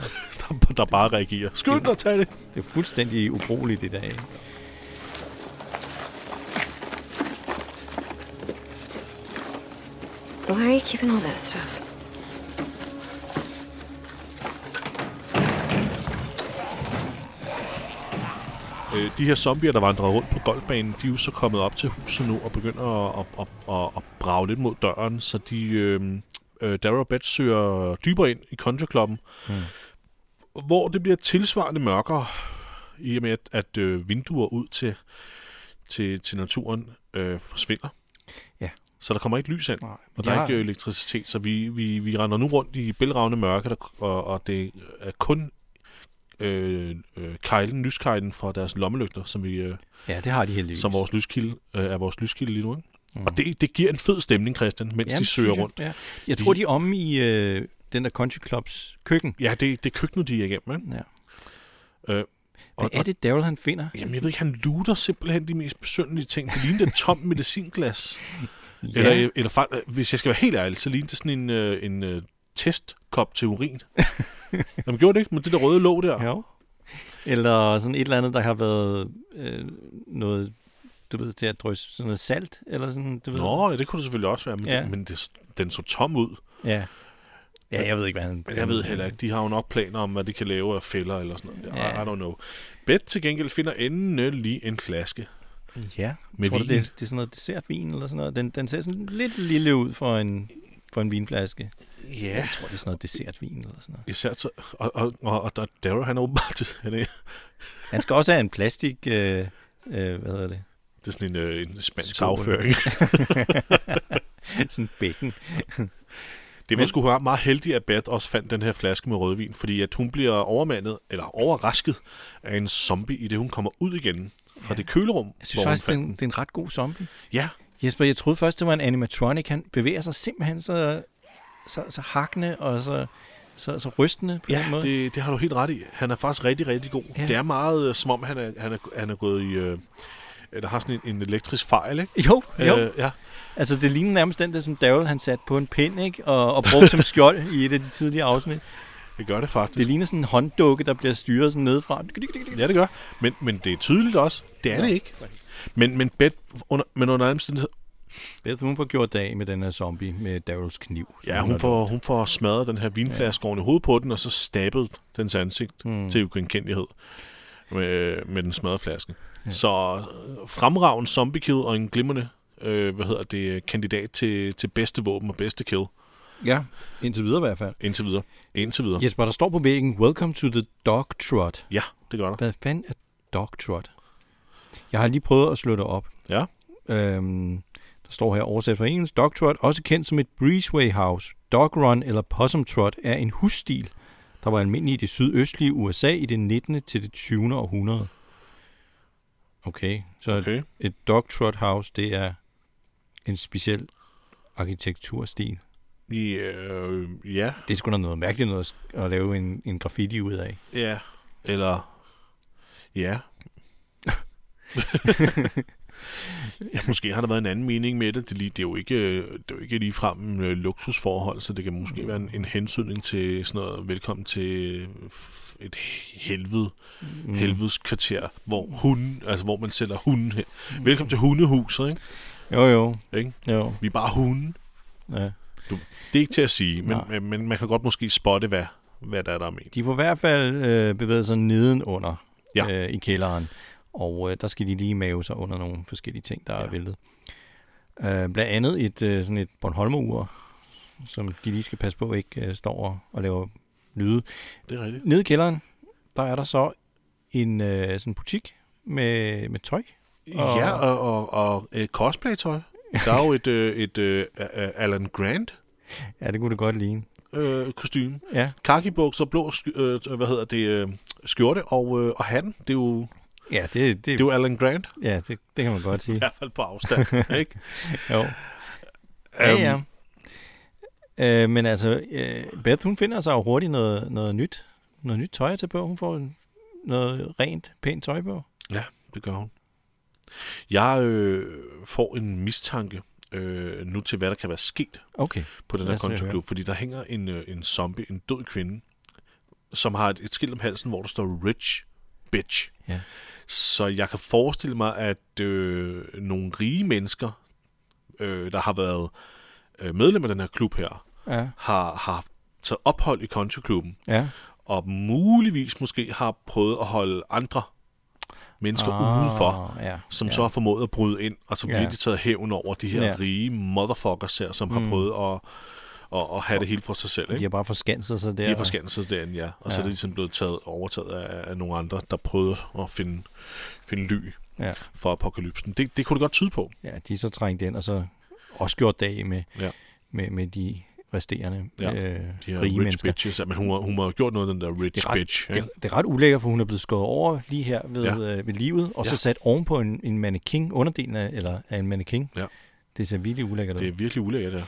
[SPEAKER 2] Ja.
[SPEAKER 1] der, der bare [laughs] reagerer. Skynd dig at tage det!
[SPEAKER 2] Det er fuldstændig ubrugeligt i dag.
[SPEAKER 4] Where are you keeping all that stuff?
[SPEAKER 1] Øh, de her zombier, der vandrede rundt på golfbanen, de er jo så kommet op til huset nu og begynder at, at, at, at, at brage lidt mod døren, så de... Øh, øh, Darrow Bed søger dybere ind i kontrklubben, mm. hvor det bliver tilsvarende mørkere, i og med at, at øh, vinduer ud til, til, til naturen øh, forsvinder.
[SPEAKER 2] Ja.
[SPEAKER 1] Så der kommer ikke lys ind,
[SPEAKER 2] Nej,
[SPEAKER 1] og der
[SPEAKER 2] jeg-
[SPEAKER 1] er ikke øh, elektricitet, så vi, vi, vi render nu rundt i bælragende mørke, der, og, og det er kun øh, øh, kejlen, lyskejlen fra deres lommelygter, som, vi, øh,
[SPEAKER 2] Ja, det har de heldigvis.
[SPEAKER 1] som vores lyskilde, øh, er vores lyskilde lige nu. Ikke? Mm. Og det, det giver en fed stemning, Christian, mens
[SPEAKER 2] Jamen,
[SPEAKER 1] de søger
[SPEAKER 2] synes jeg,
[SPEAKER 1] rundt.
[SPEAKER 2] Ja. Jeg tror, de er omme i øh, den der country clubs køkken.
[SPEAKER 1] Ja, det, det er køkkenet, de er igennem. Ikke?
[SPEAKER 2] Ja.
[SPEAKER 1] Øh,
[SPEAKER 2] Hvad er det, Daryl han finder?
[SPEAKER 1] Jamen, jeg ved ikke, han luter simpelthen de mest besynderlige ting. Det ligner et tomt
[SPEAKER 2] [laughs]
[SPEAKER 1] medicinglas. ja. Eller, øh, eller far, hvis jeg skal være helt ærlig, så ligner det sådan en, øh, en øh, testkop til
[SPEAKER 2] [laughs]
[SPEAKER 1] urin. Jamen, gjorde det ikke? Men det der røde låg der.
[SPEAKER 2] Jo. Eller sådan et eller andet, der har været øh, noget, du ved, til at drysse sådan noget salt, eller sådan, du ved.
[SPEAKER 1] Nå, ja, det kunne det selvfølgelig også være, men,
[SPEAKER 2] Ja.
[SPEAKER 1] ja. men det, den så tom ud.
[SPEAKER 2] Ja. Ja, jeg ved ikke, hvad han...
[SPEAKER 1] Jeg ved heller ikke, de har jo nok planer om, hvad de kan lave af fælder eller sådan noget.
[SPEAKER 2] Ja.
[SPEAKER 1] Ja. I don't know. Bed til gengæld finder endelig en flaske.
[SPEAKER 2] Ja,
[SPEAKER 1] Med
[SPEAKER 2] tror du,
[SPEAKER 1] vin.
[SPEAKER 2] det, er- det er sådan noget dessertvin eller sådan noget? Den, den ser sådan lidt lille ud for en, for en vinflaske.
[SPEAKER 1] Ja.
[SPEAKER 2] Jeg tror, det er sådan noget dessertvin eller sådan noget.
[SPEAKER 1] Især så, og, og, og, og der, Darrow, han er åbenbart, han er,
[SPEAKER 2] Han skal også have en plastik... Øh, øh, hvad hedder det?
[SPEAKER 1] det er sådan en, øh, en spansk
[SPEAKER 2] Skål.
[SPEAKER 1] afføring.
[SPEAKER 2] [laughs] Sådan en bækken.
[SPEAKER 1] Det var sgu være meget heldigt, at Beth også fandt den her flaske med rødvin, fordi at hun bliver overmandet, eller overrasket af en zombie, i det hun kommer ud igen fra det kølerum,
[SPEAKER 2] Jeg synes
[SPEAKER 1] hun
[SPEAKER 2] faktisk, det er,
[SPEAKER 1] fandt
[SPEAKER 2] en, det er en ret god zombie.
[SPEAKER 1] Ja,
[SPEAKER 2] Jesper, jeg troede først, det var en animatronic. Han bevæger sig simpelthen så, så, så hakkende og så, så, så rystende på den
[SPEAKER 1] ja
[SPEAKER 2] måde.
[SPEAKER 1] det, det har du helt ret i. Han er faktisk rigtig, rigtig god.
[SPEAKER 2] Ja.
[SPEAKER 1] Ja. Det er meget øh, som om, han er, han er, han er gået i... Øh, eller har sådan en, en elektrisk fejl, ikke?
[SPEAKER 2] Jo, jo. Øh.
[SPEAKER 1] Øh, ja.
[SPEAKER 2] Altså, det ligner nærmest den der, som Daryl han satte på en pind, ikke? Og, og brugte som skjold i et af de tidligere afsnit.
[SPEAKER 1] Det gør det faktisk.
[SPEAKER 2] Det ligner sådan en hånddukke, der bliver styret sådan nedefra.
[SPEAKER 1] Ja, det gør. Men, men det er tydeligt også. Det er det ikke. Men, men, Beth, under, men under alle omstændigheder,
[SPEAKER 2] Beth, hun får gjort dag med den her zombie med Daryls kniv. som
[SPEAKER 1] Ja,
[SPEAKER 2] har
[SPEAKER 1] hun får, hun får smadret den her vinflaske ja. oven i hovedet på den, og så stabbet dens ansigt mm. til ugenkendelighed med, med den smadrede flaske. Ja. Så øh, fremragende zombie kill og en glimrende øh, hvad hedder det, kandidat til, til bedste våben og bedste kill
[SPEAKER 2] lånt. Ja, indtil videre i hvert fald.
[SPEAKER 1] indtil videre. Indtil videre.
[SPEAKER 2] Jesper, der står på væggen, Welcome to the Dog Trot.
[SPEAKER 1] Ja, det gør der.
[SPEAKER 2] Hvad fanden er Dog Trot? Jeg har lige prøvet at slå det op.
[SPEAKER 1] Ja.
[SPEAKER 2] Øhm, der står her oversat fra engelsk. Dog Trot, også kendt som et breezeway house, dog run eller possum trot, er en husstil, der var almindelig i det sydøstlige USA i det 19. til det 20. århundrede. Okay, så okay.
[SPEAKER 1] Okay.
[SPEAKER 2] et dogtrot house, det er en speciel arkitekturstil.
[SPEAKER 1] Ja, øh, ja,
[SPEAKER 2] Det er sgu da noget mærkeligt noget at sk- at lave en, en graffiti ud af.
[SPEAKER 1] ja. Eller, ja. [laughs] ja, måske har der været en anden mening med det. Det, er lige, det, er, jo ikke, øh, det er jo ikke ligefrem øh, luksusforhold, så det kan måske være en, en hensynning til sådan noget, velkommen til øh, f- et helvede, mm. helvedes kvarter, hvor hun, altså hvor man sælger hunden hen. Velkommen til hundehuset, ikke?
[SPEAKER 2] Jo, jo.
[SPEAKER 1] ikke?
[SPEAKER 2] jo.
[SPEAKER 1] Vi er bare hunde.
[SPEAKER 2] Ja.
[SPEAKER 1] Du, det er ikke til at sige, men,
[SPEAKER 2] Nej.
[SPEAKER 1] men, men man kan godt måske spotte, hvad, hvad der er, der er ment.
[SPEAKER 2] De får i hvert fald øh, bevæget sig nedenunder
[SPEAKER 1] Ja.
[SPEAKER 2] ja. øh, i kælderen, og øh, der skal de lige mave sig under nogle forskellige ting, der ja. er væltet. Øh, blandt andet et, øh, sådan et Bornholmer-ur, som de lige skal passe på ikke øh, står og, og laver lyde.
[SPEAKER 1] Det er rigtigt.
[SPEAKER 2] Nede i kælderen, der er der så en øh, sådan butik med, med tøj. Og-
[SPEAKER 1] Og... Ja, og, og, og øh, cosplay-tøj. Der er jo et, øh, et øh, øh, Alan Grant
[SPEAKER 2] Ja, det kunne det godt ligne.
[SPEAKER 1] øh, kostume.
[SPEAKER 2] Ja,
[SPEAKER 1] Khaki-bukser, blå sky- øh, hvad hedder det, øh, skjorte og, øh, og hatten. Det er, jo,
[SPEAKER 2] ja det, det,
[SPEAKER 1] det er jo Alan Grant,
[SPEAKER 2] ja det, det kan man godt [laughs] sige.
[SPEAKER 1] i hvert fald på afstand. ikke? Øhm,
[SPEAKER 2] Jo. Ja, ja. Øhm, Øh, men altså, øh, Beth, hun finder sig jo hurtigt noget, noget nyt. Noget nyt tøj til på. Hun får en- noget rent, pænt tøj på.
[SPEAKER 1] Ja, det gør hun. Jeg øh, får en mistanke øh, nu til, hvad der kan være sket
[SPEAKER 2] Okay.
[SPEAKER 1] på den
[SPEAKER 2] Lad
[SPEAKER 1] her
[SPEAKER 2] os høre.
[SPEAKER 1] kontoklub, fordi der hænger en, øh, en zombie, en død kvinde, som har et, et skilt om halsen, hvor der står rich bitch.
[SPEAKER 2] Ja.
[SPEAKER 1] Så jeg kan forestille mig, at øh, nogle rige mennesker, øh, der har været øh, medlem af den her klub her,
[SPEAKER 2] Ja.
[SPEAKER 1] har, har haft- taget ophold i kontoklubben,
[SPEAKER 2] Ja.
[SPEAKER 1] og muligvis måske har prøvet at holde andre mennesker ah, udenfor,
[SPEAKER 2] Ja.
[SPEAKER 1] som
[SPEAKER 2] ja.
[SPEAKER 1] ja. så har formået at bryde ind, og så
[SPEAKER 2] Ja.
[SPEAKER 1] bliver de taget hævn over de her
[SPEAKER 2] Ja.
[SPEAKER 1] ja. rige motherfuckers her, som mm. har prøvet at, at, at have det hele for sig selv.
[SPEAKER 2] De
[SPEAKER 1] Ikke?
[SPEAKER 2] har bare forskanset sig der.
[SPEAKER 1] De er forskanset derinde, ja. Og ja. så er det ligesom blevet taget, overtaget af, af nogle andre, der prøvede at finde, finde ly
[SPEAKER 2] Ja.
[SPEAKER 1] for apokalypsen. Det, det kunne det godt tyde på.
[SPEAKER 2] ja, de er så trængt ind, og så også gjort dag med,
[SPEAKER 1] Ja.
[SPEAKER 2] med, med de resterende
[SPEAKER 1] Ja.
[SPEAKER 2] øh,
[SPEAKER 1] De her
[SPEAKER 2] rige
[SPEAKER 1] rich
[SPEAKER 2] mennesker.
[SPEAKER 1] bitches. Ja, men hun, har- hun har gjort noget af den der
[SPEAKER 2] Det
[SPEAKER 1] rich
[SPEAKER 2] er, ret,
[SPEAKER 1] bitch.
[SPEAKER 2] det,
[SPEAKER 1] Ikke?
[SPEAKER 2] er, det er ret ulækkert, for hun er blevet skåret over lige her ved, ja.
[SPEAKER 1] Ja.
[SPEAKER 2] øh, ved livet, og ja. så
[SPEAKER 1] Ja.
[SPEAKER 2] sat ovenpå en, en mannequin, underdelen af, eller, af en mannequin.
[SPEAKER 1] Ja.
[SPEAKER 2] Det ser virkelig ulækkert
[SPEAKER 1] Det
[SPEAKER 2] ud.
[SPEAKER 1] er virkelig ulækkert, ja.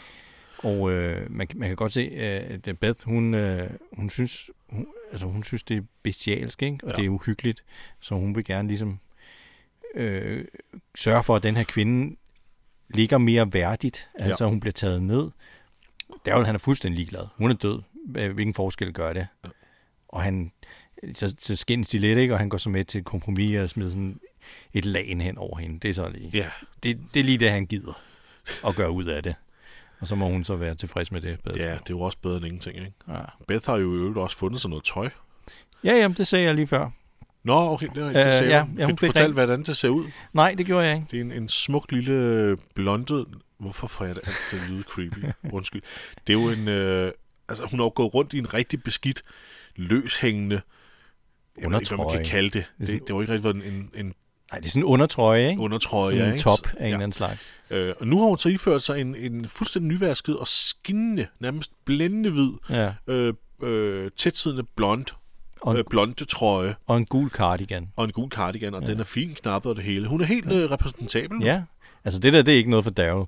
[SPEAKER 2] Og øh, man, kan- man kan godt se, øh, at Beth, hun, øh, hun, synes, hun, altså, hun synes, det er bestialsk, ikke? og ja.
[SPEAKER 1] Ja.
[SPEAKER 2] det er uhyggeligt, så hun vil gerne ligesom øh, sørge for, at den her kvinde ligger mere værdigt, altså ja. hun bliver taget ned. Daryl, han er fuldstændig ligeglad. Hun er død. Hva- Hvilken forskel gør det? Og han, så, så skændes de lidt, ikke? og han går så med til et kompromis og smider sådan et lagen hen over hende. Det er så lige,
[SPEAKER 1] Ja,
[SPEAKER 2] det, det er lige det, han gider at gøre ud af det. Og så må hun så være tilfreds med det. Bedre.
[SPEAKER 1] ja det er jo også bedre end ingenting. Ikke?
[SPEAKER 2] Ja.
[SPEAKER 1] Beth har jo i øvrigt også fundet sig noget tøj.
[SPEAKER 2] ja, jamen, det sagde jeg lige før.
[SPEAKER 1] Nå, okay, det, øh, det
[SPEAKER 2] Øh,
[SPEAKER 1] ser ja,
[SPEAKER 2] ja, ja,
[SPEAKER 1] ja,
[SPEAKER 2] hun
[SPEAKER 1] hun
[SPEAKER 2] fik
[SPEAKER 1] Fortæl,
[SPEAKER 2] rent-
[SPEAKER 1] hvordan det ser ud.
[SPEAKER 2] Nej, det gjorde jeg ikke.
[SPEAKER 1] Det er en, en smuk lille blondet... Hvorfor får jeg det altid til at lyde
[SPEAKER 2] [laughs]
[SPEAKER 1] creepy? Undskyld. Det er jo en... Øh, altså, hun har jo gået rundt i en rigtig beskidt, løshængende... Jeg ved ikke, hvad man
[SPEAKER 2] Undertrøje.
[SPEAKER 1] kan kalde det. Det,
[SPEAKER 2] sådan-
[SPEAKER 1] det, det var ikke rigtig været en, en, en
[SPEAKER 2] Nej, det er sådan en undertrøje, ikke?
[SPEAKER 1] undertrøje.
[SPEAKER 2] sådan
[SPEAKER 1] ja,
[SPEAKER 2] en
[SPEAKER 1] ikke?
[SPEAKER 2] top
[SPEAKER 1] Så-
[SPEAKER 2] af en eller anden slags.
[SPEAKER 1] Øh, og nu har hun så iført sig en, en fuldstændig nyvasket og skinnende, nærmest blændende hvid,
[SPEAKER 2] Ja.
[SPEAKER 1] øh, øh, tætsidende blond,
[SPEAKER 2] Og,
[SPEAKER 1] øh, blonde trøje
[SPEAKER 2] og en gul cardigan.
[SPEAKER 1] og en gul cardigan, og ja. den er fin knappet og det hele. Hun er helt øh, repræsentabel.
[SPEAKER 2] Ja, altså det der, det er ikke noget for Daryl.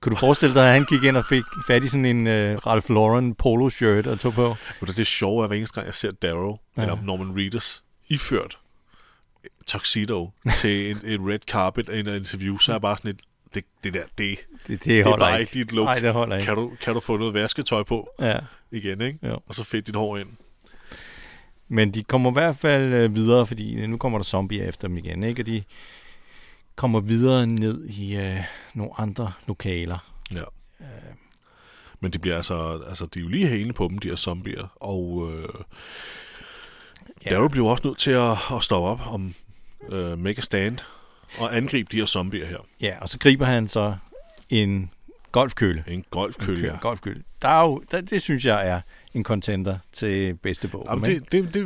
[SPEAKER 2] Kunne du forestille dig, at han gik ind og fik fat i sådan en uh, Ralph Lauren polo-shirt og tog på?
[SPEAKER 1] Og det, det sjove er, at hver eneste gang, jeg ser Darrow, ja. eller Norman Reedus, iført [laughs] tuxedo til en, et red carpet og en interview, så er jeg bare sådan et, det, det der, det, det
[SPEAKER 2] Det, det,
[SPEAKER 1] er
[SPEAKER 2] holder
[SPEAKER 1] bare ikke dit look.
[SPEAKER 2] Nej, det holder ikke.
[SPEAKER 1] Kan du, kan du få noget vasketøj på
[SPEAKER 2] Ja.
[SPEAKER 1] igen, ikke?
[SPEAKER 2] Jo.
[SPEAKER 1] Og så fedt dit hår ind.
[SPEAKER 2] Men de kommer i hvert fald øh, videre, fordi nu kommer der zombier efter dem igen, ikke? Og de kommer videre ned i øh, nogle andre lokaler.
[SPEAKER 1] Ja. Øh. Men det bliver altså, altså, de er jo lige hængende på dem, de her zombier, og øh,
[SPEAKER 2] Ja.
[SPEAKER 1] ja. Darrow bliver jo også nødt til at, at stoppe op om øh, make a stand og angribe de her zombier her.
[SPEAKER 2] Ja, og så griber han så en golfkølle.
[SPEAKER 1] En golfkølle.
[SPEAKER 2] Kø- Golfkølle. Der er jo, der, det synes jeg er en contender til bedste bog.
[SPEAKER 1] Jamen, det, det, det, det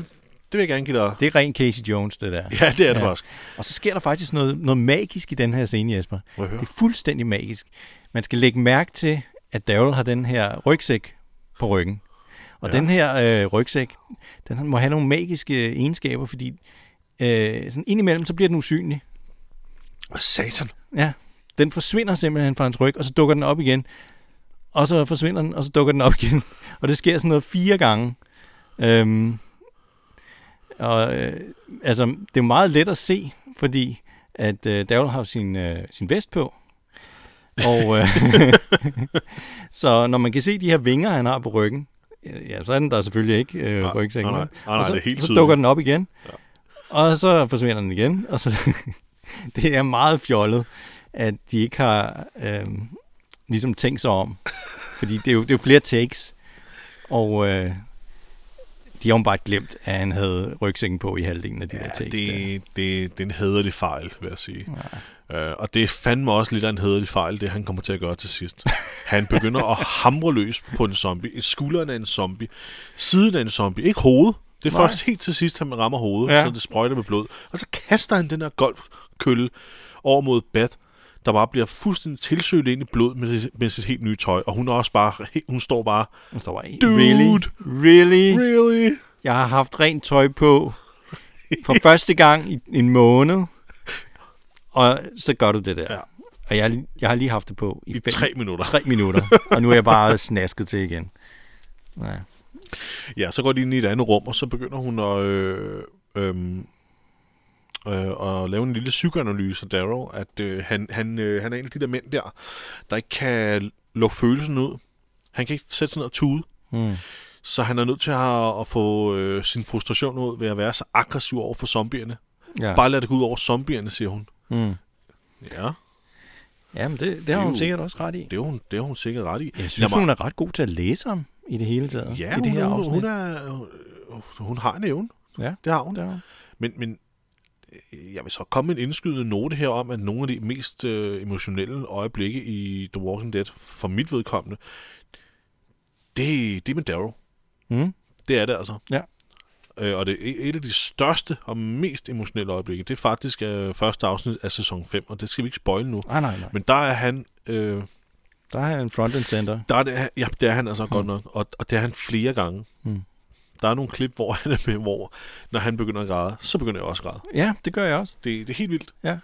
[SPEAKER 1] vil jeg gerne give dig.
[SPEAKER 2] det er ren Casey Jones, det der.
[SPEAKER 1] Ja, det er det
[SPEAKER 2] Ja.
[SPEAKER 1] ja. faktisk.
[SPEAKER 2] Og så sker der faktisk noget, noget magisk i den her scene, Jesper.
[SPEAKER 1] Må jeg høre?
[SPEAKER 2] Det er fuldstændig magisk. Man skal lægge mærke til, at Daryl har den her rygsæk på ryggen. Og ja. den her øh, rygsæk, den må have nogle magiske egenskaber, fordi øh, sådan indimellem, så bliver den usynlig.
[SPEAKER 1] Hvad satan?
[SPEAKER 2] Ja. Den forsvinder simpelthen fra hans ryg, og så dukker den op igen. Og så forsvinder den, og så dukker den op [laughs] igen. Og det sker sådan noget fire gange. Øhm, og øh, altså, det er jo meget let at se, fordi at øh, Daryl har jo sin, øh, sin vest på. Og øh, [laughs] så når man kan se de her vinger, han har på ryggen, øh, ja, så er den der selvfølgelig ikke øh,
[SPEAKER 1] Nej,
[SPEAKER 2] rygsækken.
[SPEAKER 1] nej, nej.
[SPEAKER 2] vel?
[SPEAKER 1] Nej, nej,
[SPEAKER 2] og så,
[SPEAKER 1] det er helt
[SPEAKER 2] så
[SPEAKER 1] tydeligt.
[SPEAKER 2] dukker den op igen, ja. og så forsvinder den igen. Og så, [laughs] det er meget fjollet, at de ikke har øh, ligesom tænkt sig om. Fordi det er jo, det er jo flere takes, og øh, de har jo bare glemt, at han havde rygsækken på i halvdelen af de der
[SPEAKER 1] Ja,
[SPEAKER 2] takes. der.
[SPEAKER 1] det, det, det er en hederlig fejl, vil jeg sige. Øh, og det er fandme også lidt af en hederlig fejl, det han kommer til at gøre til sidst. Han begynder at hamre løs på en zombie. Et skulderen af en zombie. Siden af en zombie. Ikke hovedet. Det er
[SPEAKER 2] Nej.
[SPEAKER 1] først helt til sidst, han rammer hovedet,
[SPEAKER 2] Ja.
[SPEAKER 1] ja. så det sprøjter med blod. Og så kaster han den her golfkølle over mod Bat, der bare bliver fuldstændig tilsøgt ind i blod med sit, med sit helt nye tøj. Og hun er også bare, he- hun står bare,
[SPEAKER 2] Og så var jeg,
[SPEAKER 1] Dude.
[SPEAKER 2] really? Really?
[SPEAKER 1] really?
[SPEAKER 2] Jeg har haft rent tøj på
[SPEAKER 1] [laughs]
[SPEAKER 2] for første gang i en måned, og så gør du det der.
[SPEAKER 1] Ja.
[SPEAKER 2] Og jeg, jeg har lige haft det på i,
[SPEAKER 1] I
[SPEAKER 2] fem,
[SPEAKER 1] tre minutter.
[SPEAKER 2] tre
[SPEAKER 1] [laughs]
[SPEAKER 2] minutter, og nu er jeg bare snasket til igen. Ja.
[SPEAKER 1] Ja, så går de ind i et andet rum, og så begynder hun at, øh, øh, øh, at lave en lille psykoanalyse af Darrow, at øh, han, han, øh, han er en af de der mænd der, der ikke kan lukke følelsen ud. Han kan ikke sætte sig ned og tude.
[SPEAKER 2] Mm.
[SPEAKER 1] Så han er nødt til at, at få øh, sin frustration ud ved at være så aggressiv over for zombierne.
[SPEAKER 2] Ja.
[SPEAKER 1] Ja. Bare lad det gå ud over zombierne, siger hun.
[SPEAKER 2] Mm.
[SPEAKER 1] Ja,
[SPEAKER 2] Jamen, det, det har
[SPEAKER 1] er
[SPEAKER 2] hun
[SPEAKER 1] jo-
[SPEAKER 2] sikkert også ret i.
[SPEAKER 1] det er hun, det er hun sikkert ret i.
[SPEAKER 2] Jeg synes,
[SPEAKER 1] Lad mig-
[SPEAKER 2] hun er ret god til at læse ham i det hele taget.
[SPEAKER 1] ja,
[SPEAKER 2] i det
[SPEAKER 1] hun,
[SPEAKER 2] her
[SPEAKER 1] hun,
[SPEAKER 2] afsnit.
[SPEAKER 1] hun, er, hun, hun har en evne.
[SPEAKER 2] Ja.
[SPEAKER 1] Det har hun.
[SPEAKER 2] Det er hun.
[SPEAKER 1] Men, men øh, jeg vil så komme med en indskydende note her om, at nogle af de mest øh, emotionelle øjeblikke i The Walking Dead, for mit vedkommende, det, det er med Darrow.
[SPEAKER 2] Mm.
[SPEAKER 1] Det er det altså.
[SPEAKER 2] Ja.
[SPEAKER 1] Øh, og det er et af de største og mest emotionelle øjeblikke. Det er faktisk øh, første afsnit af sæson 5, og det skal vi ikke spoil nu.
[SPEAKER 2] Ah, nej, nej.
[SPEAKER 1] Men der er han... Øh,
[SPEAKER 2] Der er en front and center.
[SPEAKER 1] der er det, ja, det er han
[SPEAKER 2] Hmm.
[SPEAKER 1] altså godt nok, og, og det er han flere gange.
[SPEAKER 2] Mm.
[SPEAKER 1] Der er nogle klip, hvor [laughs] han er med, hvor når han begynder at græde, så begynder jeg også at græde.
[SPEAKER 2] Ja, det gør jeg også.
[SPEAKER 1] Det, det er helt vildt.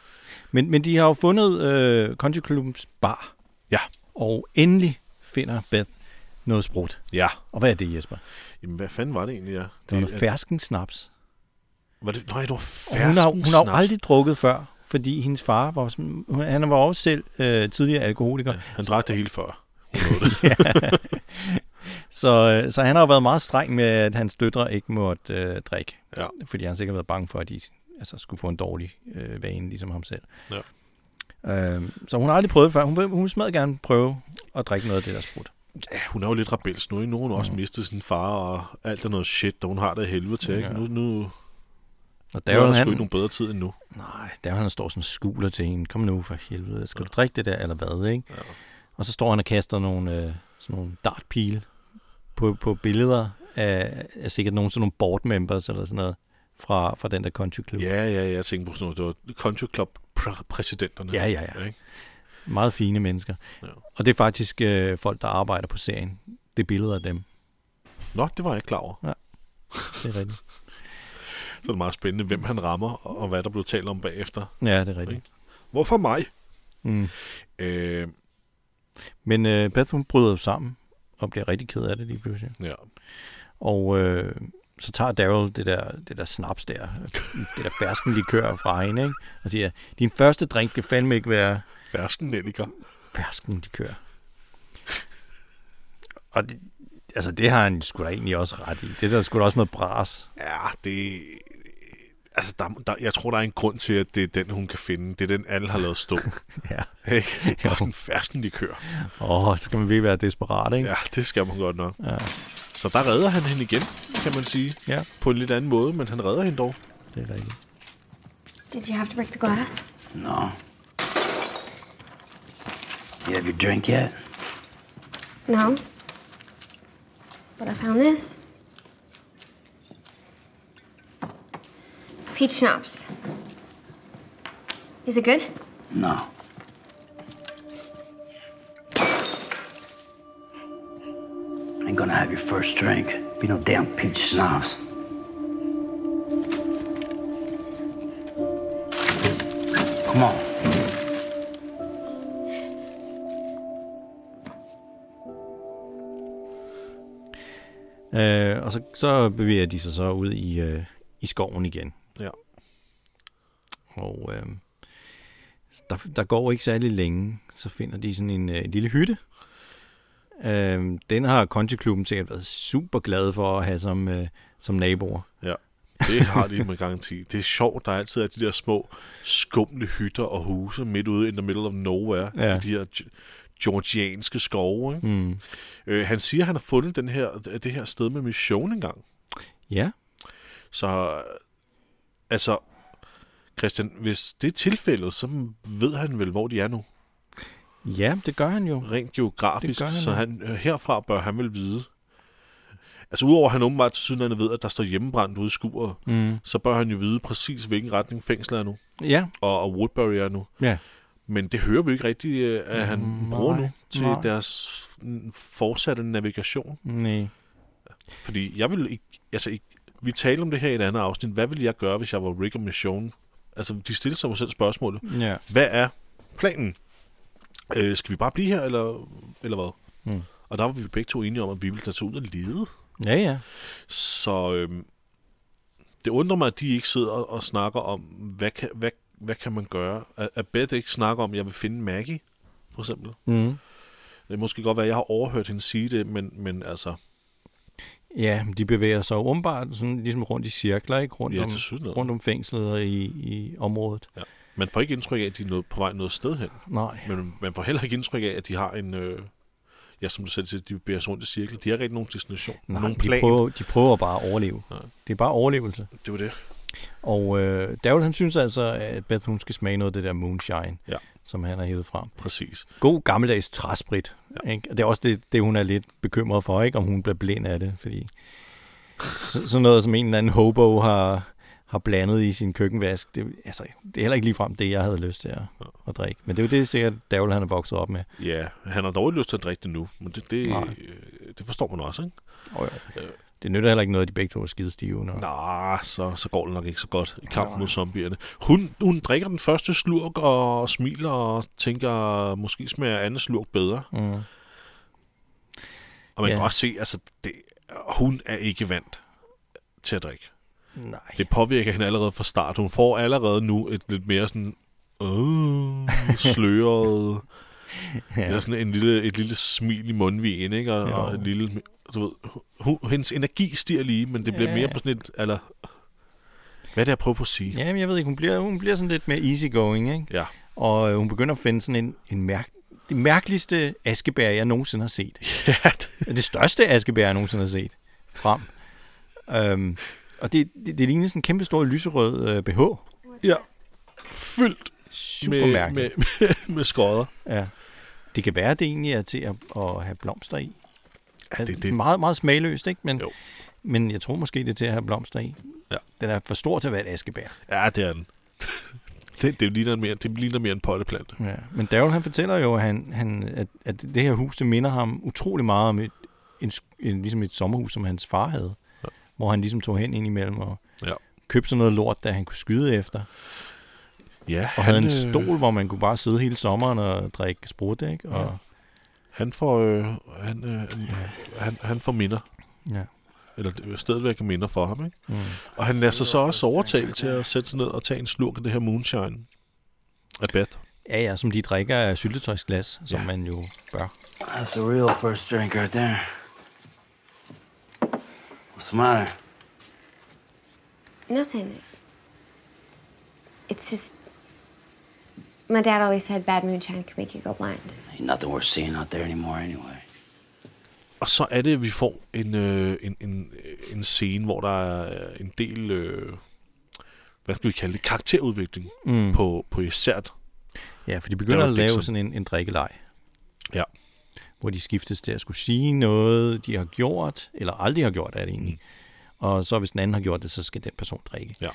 [SPEAKER 2] Men, men de har jo fundet øh, Country Clubs bar,
[SPEAKER 1] Ja,
[SPEAKER 2] og endelig finder Beth noget sprut.
[SPEAKER 1] ja.
[SPEAKER 2] Og hvad er det, Jesper?
[SPEAKER 1] Jamen, hvad fanden var det egentlig, ja?
[SPEAKER 2] Det var
[SPEAKER 1] Det,
[SPEAKER 2] noget fersken snaps.
[SPEAKER 1] var det, nej, det var
[SPEAKER 2] Og Hun
[SPEAKER 1] fersken
[SPEAKER 2] har, hun har jo
[SPEAKER 1] snaps.
[SPEAKER 2] aldrig drukket før, fordi hendes far var, sådan- hun- han var også selv øh, tidligere alkoholiker.
[SPEAKER 1] Han drak det hele før.
[SPEAKER 2] [laughs] Så, øh, så han har jo været meget streng med, at hans døtre ikke måtte øh, drikke.
[SPEAKER 1] Ja.
[SPEAKER 2] Fordi han sikkert har været bange for, at de altså, skulle få en dårlig øh, vane, ligesom ham selv.
[SPEAKER 1] Ja.
[SPEAKER 2] Øhm, så hun har aldrig prøvet det før. Hun vil, hun vil smadret gerne prøve at drikke noget af det, der er sprudt.
[SPEAKER 1] Ja, hun er jo lidt rebels nu, ikke? Nu har hun også mistet sin far og alt det noget shit, der hun har det i helvede til, ikke?
[SPEAKER 2] Ja.
[SPEAKER 1] Nu, nu,
[SPEAKER 2] Og
[SPEAKER 1] der nu er
[SPEAKER 2] Daryl,
[SPEAKER 1] der sgu
[SPEAKER 2] han,
[SPEAKER 1] ikke nogen bedre tid end nu.
[SPEAKER 2] nej, der han står sådan og skuler til hende. Kom nu for helvede, skal du drikke det der, eller hvad, ikke? Ja. Og så står han og kaster nogle, øh, sådan nogle dartpile på, på billeder af, af sikkert nogle sådan nogle board members eller sådan noget fra, fra den der country club.
[SPEAKER 1] Ja, ja, ja, jeg tænkte på sådan noget. Det var Country Club præ- præsidenterne.
[SPEAKER 2] Ja, ja, ja.
[SPEAKER 1] Ikke?
[SPEAKER 2] Meget fine mennesker.
[SPEAKER 1] Ja.
[SPEAKER 2] Og det er faktisk øh, folk, der arbejder på serien. Det er billeder af dem.
[SPEAKER 1] Nå, det var jeg ikke klar over.
[SPEAKER 2] Det er rigtigt.
[SPEAKER 1] Så er det meget spændende, hvem han rammer, og, og hvad der blev talt om bagefter.
[SPEAKER 2] Ja, det er rigtigt.
[SPEAKER 1] Hvorfor mig?
[SPEAKER 2] Mm.
[SPEAKER 1] Øh,
[SPEAKER 2] Men øh, Beth, hun bryder jo sammen og bliver rigtig ked af det lige pludselig.
[SPEAKER 1] ja.
[SPEAKER 2] Og øh, så tager Daryl det der, det der snaps der, det der fersken likør fra hende, ikke? og siger, din første drink kan fandme ikke være
[SPEAKER 1] Fersken nelliker.
[SPEAKER 2] fersken likør. Og det, altså, det har han sgu da egentlig også ret i. Det er der sgu da også noget
[SPEAKER 1] [laughs]
[SPEAKER 2] bras.
[SPEAKER 1] Ja, det... Altså, der, der, jeg tror, der er en grund til, at det er den, hun kan finde. Det er den, alle har lavet stå.
[SPEAKER 2] Ja.
[SPEAKER 1] [laughs] Ikke? Også en fersken likør.
[SPEAKER 2] Åh, oh, så skal man virkelig være desperat, ikke?
[SPEAKER 1] Ja, det skal man godt nok.
[SPEAKER 2] Ja.
[SPEAKER 1] Så der redder han hende igen, kan man sige.
[SPEAKER 2] ja.
[SPEAKER 1] På en lidt anden måde, men han redder hende dog.
[SPEAKER 2] Det er rigtigt.
[SPEAKER 4] Did you have to break the glass?
[SPEAKER 5] No. You have your drink yet?
[SPEAKER 4] No. But I found this. Peach schnapps. Is it good?
[SPEAKER 5] No. Ain't gonna have your first drink. Be no damn peach snobs. Come on.
[SPEAKER 2] Øh, og så, så bevæger de sig så ud i, øh, i skoven igen.
[SPEAKER 1] Ja.
[SPEAKER 2] Og øh, der, der går ikke særlig længe, så finder de sådan en øh, lille hytte. Øh, den har Conti-klubben sikkert været super glad for at have som, øh, som naboer.
[SPEAKER 1] Ja, det har de med garanti. Det er sjovt, der altid er de der små skumle hytter og huse midt ude in the middle of nowhere
[SPEAKER 2] Ja.
[SPEAKER 1] ja. i de her ge- georgianske skove. Ikke? Mm. Øh, han siger, at han har fundet den her, det her sted med mission engang.
[SPEAKER 2] Ja,
[SPEAKER 1] Så altså, Christian, hvis det er tilfældet, så ved han vel, hvor de er nu.
[SPEAKER 2] ja det gør han jo.
[SPEAKER 1] Rent geografisk,
[SPEAKER 2] Det gør han
[SPEAKER 1] så
[SPEAKER 2] da.
[SPEAKER 1] han, øh, herfra bør han vel vide. Altså udover at han åbenbart til siden ved, at der står hjemmebrændt ude i skuret, mm. så bør han jo vide præcis, hvilken retning fængslet er nu.
[SPEAKER 2] Ja,
[SPEAKER 1] og, og Woodbury er nu.
[SPEAKER 2] ja.
[SPEAKER 1] Men det hører vi ikke rigtigt, øh, at han
[SPEAKER 2] Mm, nej,
[SPEAKER 1] bruger nu til
[SPEAKER 2] nej.
[SPEAKER 1] deres mm, fortsatte navigation.
[SPEAKER 2] Nej.
[SPEAKER 1] Fordi jeg vil ikke, altså ikke, vi talte om det her i et andet afsnit. Hvad ville jeg gøre, hvis jeg var Rick og Mission? Altså, de stiller sig jo selv spørgsmålet.
[SPEAKER 2] Ja.
[SPEAKER 1] Hvad er planen? Øh, skal vi bare blive her, eller, eller hvad?
[SPEAKER 2] Mm.
[SPEAKER 1] Og der var vi begge to enige om, at vi ville da tage ud og lede.
[SPEAKER 2] Ja, ja.
[SPEAKER 1] Så øhm, det undrer mig, at de ikke sidder og snakker om, hvad kan, hvad, hvad kan man gøre? At, at Beth ikke snakker om, at jeg vil finde Maggie, for eksempel.
[SPEAKER 2] Mm.
[SPEAKER 1] Det er måske godt være, at jeg har overhørt hende sige det, men, men altså,
[SPEAKER 2] Ja, de bevæger sig jo umiddelbart sådan, ligesom rundt i cirkler, ikke? Rundt,
[SPEAKER 1] Ja,
[SPEAKER 2] om,
[SPEAKER 1] tilsyneladende.
[SPEAKER 2] rundt om fængslet og i, i området.
[SPEAKER 1] ja. man får ikke indtryk af, at de er noget, på vej noget sted hen.
[SPEAKER 2] Nej.
[SPEAKER 1] Men man får heller ikke indtryk af, at de har en... Øh, ja, som du selv siger, de bevæger sig rundt i cirkel. De har ikke rigtig nogen destination,
[SPEAKER 2] Nej,
[SPEAKER 1] nogen
[SPEAKER 2] de,
[SPEAKER 1] plan.
[SPEAKER 2] prøver, de prøver bare at overleve. Ja. Det er bare overlevelse.
[SPEAKER 1] Det var det.
[SPEAKER 2] Og øh, Daryl, han synes altså, at Beth, hun skal smage noget af det der moonshine,
[SPEAKER 1] Ja.
[SPEAKER 2] som han har hævet frem.
[SPEAKER 1] Præcis.
[SPEAKER 2] God gammeldags træsprit. Ja. Ikke? Og Det er også det, det, hun er lidt bekymret for, ikke? om hun bliver blind af det. Fordi så, sådan noget, som en eller anden hobo har, har blandet i sin køkkenvask, det, altså, det er heller ikke ligefrem det, jeg havde lyst til at, at drikke. Men det er jo det, sikkert Daryl, han er vokset op med.
[SPEAKER 1] Ja, han har dårligt lyst til at drikke det nu, men det, det,
[SPEAKER 2] Nej.
[SPEAKER 1] øh, det forstår man også, ikke?
[SPEAKER 2] Og, øh, det nytter heller ikke noget, at de begge to er skidestive. Når...
[SPEAKER 1] Nå, så, så går det nok ikke så godt i kampen mod zombierne. Hun, hun drikker den første slurk og smiler og tænker, måske smager anden slurk bedre. Mm. Og man ja.
[SPEAKER 2] Ja.
[SPEAKER 1] kan også se, altså, det, hun er ikke vant til at drikke.
[SPEAKER 2] Nej.
[SPEAKER 1] Det påvirker hende allerede fra start. Hun får allerede nu et lidt mere sådan øh, sløret... ja. Eller sådan en lille, et lille smil i mundvigen, ikke? Og, og
[SPEAKER 2] Jo.
[SPEAKER 1] et lille... Du ved, hun, hendes energi stiger lige, men det bliver
[SPEAKER 2] Ja.
[SPEAKER 1] mere på sådan et... Eller, hvad er det, jeg prøver på at sige?
[SPEAKER 2] Jamen, jeg ved ikke, hun bliver, hun bliver sådan lidt mere easygoing, ikke?
[SPEAKER 1] Ja. [laughs]
[SPEAKER 2] Og øh, hun begynder at finde sådan en, en mærk, det mærkeligste askebær, jeg nogensinde har set.
[SPEAKER 1] [laughs] Ja, det,
[SPEAKER 2] Det største askebær, jeg nogensinde har set. Frem. Øhm, og det, det, det ligner sådan en kæmpe stor lyserød øh, BH.
[SPEAKER 1] ja. Fyldt
[SPEAKER 2] Super
[SPEAKER 1] med,
[SPEAKER 2] mærkeligt.
[SPEAKER 1] med, med, med skodder.
[SPEAKER 2] Ja. Det kan være, det egentlig er til at, at have blomster i. Ja,
[SPEAKER 1] det er det.
[SPEAKER 2] Meget, meget smagløst, ikke? Men,
[SPEAKER 1] Jo.
[SPEAKER 2] men jeg tror måske, det er til at have blomster i.
[SPEAKER 1] Ja.
[SPEAKER 2] Den er for stor til at være et askebær.
[SPEAKER 1] Ja, det er den. [laughs] det, det, ligner mere, det ligner mere en potteplante.
[SPEAKER 2] Ja, men Daryl han fortæller jo, at, han, han, at, at det her hus, det minder ham utrolig meget om et, en, sk- en, ligesom et sommerhus, som hans far havde. Ja. Hvor han ligesom tog hen indimellem og
[SPEAKER 1] Ja.
[SPEAKER 2] købte sådan noget lort, der han kunne skyde efter.
[SPEAKER 1] Ja,
[SPEAKER 2] Og havde en
[SPEAKER 1] øh,
[SPEAKER 2] stol, hvor man kunne bare sidde hele sommeren og drikke sprut, ikke? Og,
[SPEAKER 1] Han får, øh, han, øh, han, han får minder.
[SPEAKER 2] ja.
[SPEAKER 1] Eller det- stedet væk minder for ham, ikke? Mm. Og han lader sig så også overtale til at sætte sig ned og tage en slurk af det her moonshine. Af Beth.
[SPEAKER 2] ja, ja, som de drikker af syltetøjsglas, som ja. man jo bør.
[SPEAKER 5] That's a real first drink right there. What's the matter?
[SPEAKER 4] Nothing. It's just. My dad always said bad moonshine could make you go blind.
[SPEAKER 5] Ain't nothing worth seeing out there anymore, anyway.
[SPEAKER 1] Og så er det, at vi får en, øh, en, en, en scene, hvor der er en del, øh, hvad skal vi kalde det, karakterudvikling mm. på, på især.
[SPEAKER 2] Ja, for de
[SPEAKER 1] Der
[SPEAKER 2] begynder
[SPEAKER 1] var
[SPEAKER 2] at lave
[SPEAKER 1] Dixon.
[SPEAKER 2] sådan en, en drikkeleg,
[SPEAKER 1] Ja.
[SPEAKER 2] hvor de skiftes til at skulle sige noget, de har gjort, eller aldrig har gjort, er det egentlig. Og så hvis den anden har gjort det, så skal den person drikke.
[SPEAKER 1] ja.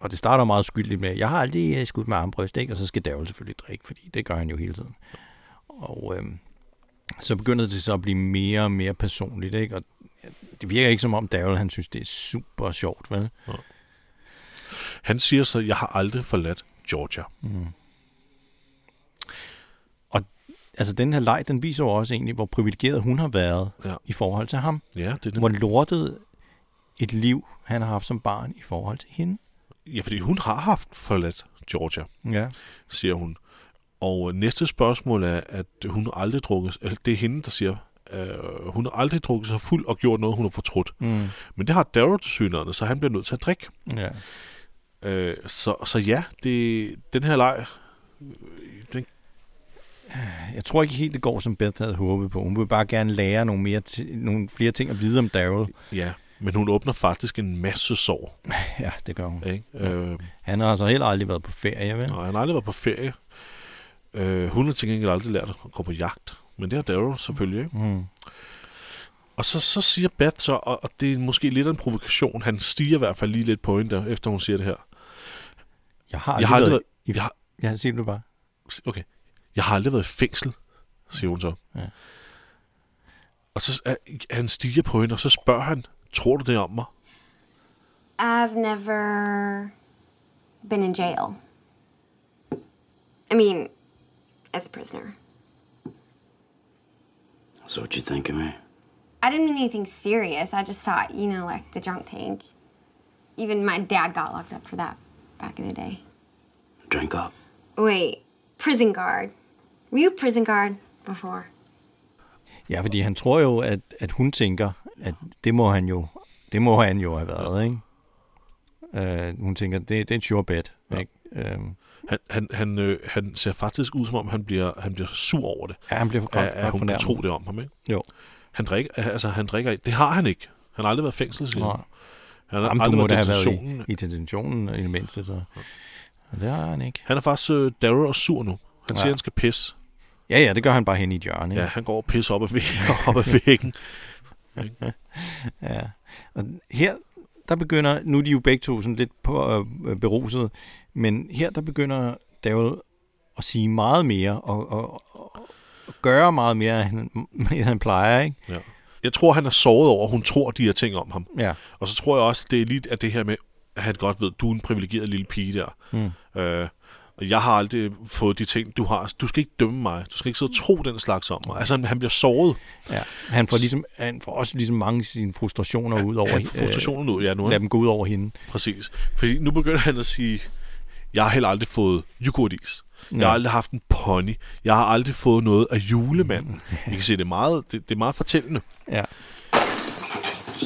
[SPEAKER 2] Og det starter meget skyldigt med, jeg har aldrig øh, skudt med armbryst, ikke? og så skal Daryl selvfølgelig drikke, fordi det gør han jo hele tiden. Og øhm, så begynder det så at blive mere og mere personligt, ikke? og det virker ikke som om Daryl, han synes, det er super sjovt, vel?
[SPEAKER 1] Han siger så, jeg har aldrig forladt Georgia. Mm.
[SPEAKER 2] Og altså den her leg, den viser jo også egentlig, hvor privilegeret hun har været
[SPEAKER 1] Ja.
[SPEAKER 2] ja. i forhold til ham.
[SPEAKER 1] Ja, det er
[SPEAKER 2] Hvor
[SPEAKER 1] det.
[SPEAKER 2] lortet et liv, han har haft som barn i forhold til hende.
[SPEAKER 1] Ja, fordi hun har haft forladt Georgia,
[SPEAKER 2] Ja.
[SPEAKER 1] siger hun. Og øh, næste spørgsmål er, at hun har aldrig drukket... Eller det er hende, der siger, øh, hun har aldrig drukket sig fuld og gjort noget, hun har fortrudt.
[SPEAKER 2] Mm.
[SPEAKER 1] Men det har Daryl til synerne, så han bliver nødt til at drikke.
[SPEAKER 2] ja.
[SPEAKER 1] Øh, så, så ja, det, den her leg, øh, den,
[SPEAKER 2] Jeg tror ikke helt, det går, som Beth havde håbet på. Hun vil bare gerne lære nogle, mere ti- nogle flere ting at vide om Daryl.
[SPEAKER 1] ja, men hun åbner faktisk en masse sår.
[SPEAKER 2] Ja, det gør hun.
[SPEAKER 1] Ikke? Øh,
[SPEAKER 2] Han har altså heller aldrig været på ferie, vel?
[SPEAKER 1] og han har aldrig været på ferie. Øh, hun har til gengæld aldrig lært at gå på jagt. Men det har Daryl selvfølgelig. Ikke?
[SPEAKER 2] Mm.
[SPEAKER 1] Og så, så siger Bat så, og, og det er måske lidt af en provokation, han stiger i hvert fald lige lidt point, der, efter hun siger det her.
[SPEAKER 2] Jeg har aldrig,
[SPEAKER 1] Jeg har aldrig
[SPEAKER 2] været...
[SPEAKER 1] været- jeg har-
[SPEAKER 2] Jeg... Ja, siger du bare.
[SPEAKER 1] Okay, jeg har aldrig været i fængsel, siger hun så.
[SPEAKER 2] Ja.
[SPEAKER 1] Og så er, han stiger på hende, og så spørger han, tror du det om mig?
[SPEAKER 4] I've never been in jail. I mean, as a prisoner.
[SPEAKER 5] So what you think of me?
[SPEAKER 4] I didn't mean anything serious. I just thought, you know, like the drunk tank. Even my dad got locked up for that back in the day.
[SPEAKER 5] Drink up.
[SPEAKER 4] Wait, prison guard. Were you a prison guard before?
[SPEAKER 2] Ja, fordi han tror jo, at, at hun tænker, at det må han jo, det må han jo have været, ikke? Uh, hun tænker, det, det er en sure bet, ja. ikke? Uh,
[SPEAKER 1] Han, han, han, øh, han ser faktisk ud, som om han bliver, han bliver sur over det.
[SPEAKER 2] ja, han bliver for
[SPEAKER 1] At,
[SPEAKER 2] godt,
[SPEAKER 1] at hun kan tro det om ham, ikke?
[SPEAKER 2] Jo.
[SPEAKER 1] Han drikker, altså, han drikker ikke. Det har han ikke. Han har aldrig været i fængsel, siger
[SPEAKER 2] Nå.
[SPEAKER 1] altså. han. Han har
[SPEAKER 2] Jamen, du må da have været
[SPEAKER 1] detentionen.
[SPEAKER 2] i, i detentionen i det mindste, så. Og det har han ikke.
[SPEAKER 1] Han er faktisk øh, Daryl og sur nu. Han ja. siger,
[SPEAKER 2] Ja.
[SPEAKER 1] han skal pisse.
[SPEAKER 2] Ja, ja, det gør han bare hen i et hjørne.
[SPEAKER 1] Ja,
[SPEAKER 2] ikke?
[SPEAKER 1] han går og pisser op ad, væg- [laughs] op ad væggen.
[SPEAKER 2] Ja. Og her, der begynder, nu er de jo begge to sådan lidt på, øh, beruset, men her, der begynder Daryl at sige meget mere, og, og, og, og gøre meget mere, end, end han plejer, ikke?
[SPEAKER 1] Ja. Jeg tror, han er såret over, at hun tror de her ting om ham.
[SPEAKER 2] Ja.
[SPEAKER 1] Og så tror jeg også, det er lidt af det her med, at han godt ved, du er en privilegeret lille pige der. Mm. Øh, og jeg har aldrig fået de ting, du har. Du skal ikke dømme mig. Du skal ikke sidde og tro den slags om mig. Altså, han, han bliver såret.
[SPEAKER 2] ja. Han, får ligesom, han får også ligesom mange af sine frustrationer ud over,
[SPEAKER 1] Han får frustrationen ud. Ja, nu
[SPEAKER 2] øh,
[SPEAKER 1] er
[SPEAKER 2] lad
[SPEAKER 1] han,
[SPEAKER 2] dem gå ud over hende.
[SPEAKER 1] præcis. Fordi nu begynder han at sige, jeg har heller aldrig fået yoghurtis. Jeg har
[SPEAKER 2] Ja.
[SPEAKER 1] aldrig haft en pony. Jeg har aldrig fået noget af julemanden. I kan se, det er meget, det, det er meget fortællende.
[SPEAKER 2] Ja.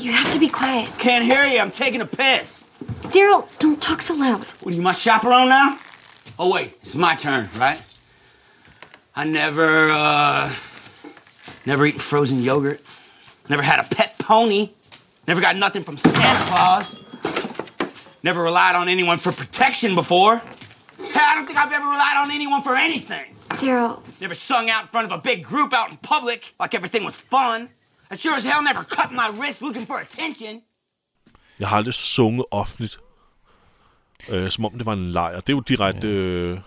[SPEAKER 4] You have to be quiet.
[SPEAKER 5] Can't hear you. I'm taking a piss.
[SPEAKER 4] Daryl, don't talk so loud.
[SPEAKER 5] What are you, my chaperone now? Oh wait, it's my turn, right? I never, uh, never eaten frozen yogurt. Never had a pet pony. Never got nothing from Santa Claus. Never relied on anyone for protection before. Hey, I don't think I've ever relied on anyone for anything.
[SPEAKER 4] Daryl,
[SPEAKER 5] Never sung out in front of a big group out in public like everything was fun. I sure as hell never cut my wrist looking for attention.
[SPEAKER 1] Jeg har aldrig sunget offentligt, øh, som om det var en leg. Og det er jo direkte... Øh,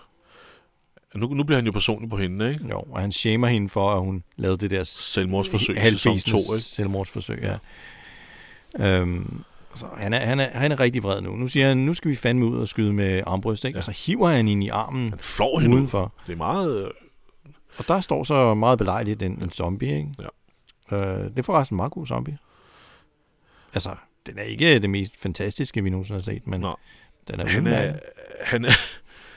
[SPEAKER 1] nu, nu bliver han jo personlig på hende, ikke?
[SPEAKER 2] Jo, og han shamer hende for, at hun lavede det der
[SPEAKER 1] Selvmordsforsøg i sæson 2,
[SPEAKER 2] halvfisende
[SPEAKER 1] ikke?
[SPEAKER 2] selvmordsforsøg, ja. Øhm, så han er, han, er, han er rigtig vred nu. Nu siger han, nu skal vi fandme ud og skyde med armbryst, ikke? Ja. Og så hiver han hende i armen
[SPEAKER 1] Flår hende ud.
[SPEAKER 2] udenfor.
[SPEAKER 1] Det er meget... Øh,
[SPEAKER 2] Og der står så meget belejligt en, en zombie, ikke? Ja. Øh, det er forresten en meget god zombie. Altså, den er ikke det mest fantastiske, vi nogensinde har set, men
[SPEAKER 1] Nå.
[SPEAKER 2] den er
[SPEAKER 1] han, er,
[SPEAKER 2] udmærket.
[SPEAKER 1] han, er,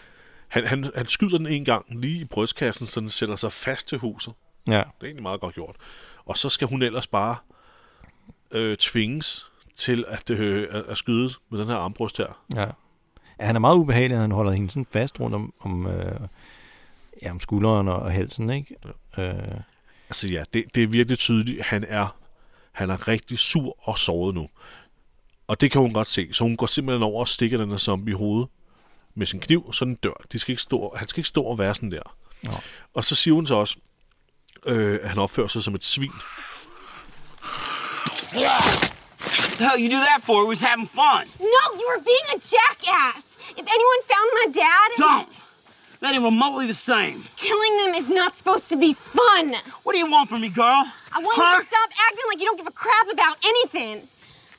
[SPEAKER 1] [laughs] han, han, han skyder den en gang lige i brystkassen, så den sætter sig fast til huset.
[SPEAKER 2] Ja,
[SPEAKER 1] Det er egentlig meget godt gjort. Og så skal hun ellers bare øh, tvinges til at, øh, at, at skyde med den her armbrust her.
[SPEAKER 2] ja. ja. Han er meget ubehagelig, at han holder hende sådan fast rundt om, om, øh, ja, om skulderen og, og halsen, ikke? Ja. Øh,
[SPEAKER 1] Altså ja, det, det er virkelig tydeligt. Han er, han er rigtig sur og såret nu. Og det kan hun godt se. Så hun går simpelthen over og stikker den her zombie i hovedet med sin kniv, så den dør. De skal ikke stå, han skal ikke stå og være sådan der.
[SPEAKER 2] Nå.
[SPEAKER 1] Og så siger hun så også, øh, at han opfører sig som et svin.
[SPEAKER 5] What the hell you do that for? We was having fun.
[SPEAKER 4] No, you were being a jackass. If anyone found my dad,
[SPEAKER 5] Don't! That ain't remotely the same.
[SPEAKER 4] killing them is not supposed to be fun.
[SPEAKER 5] What do you want from me, girl?
[SPEAKER 4] I want you to stop acting like you don't give a crap about anything.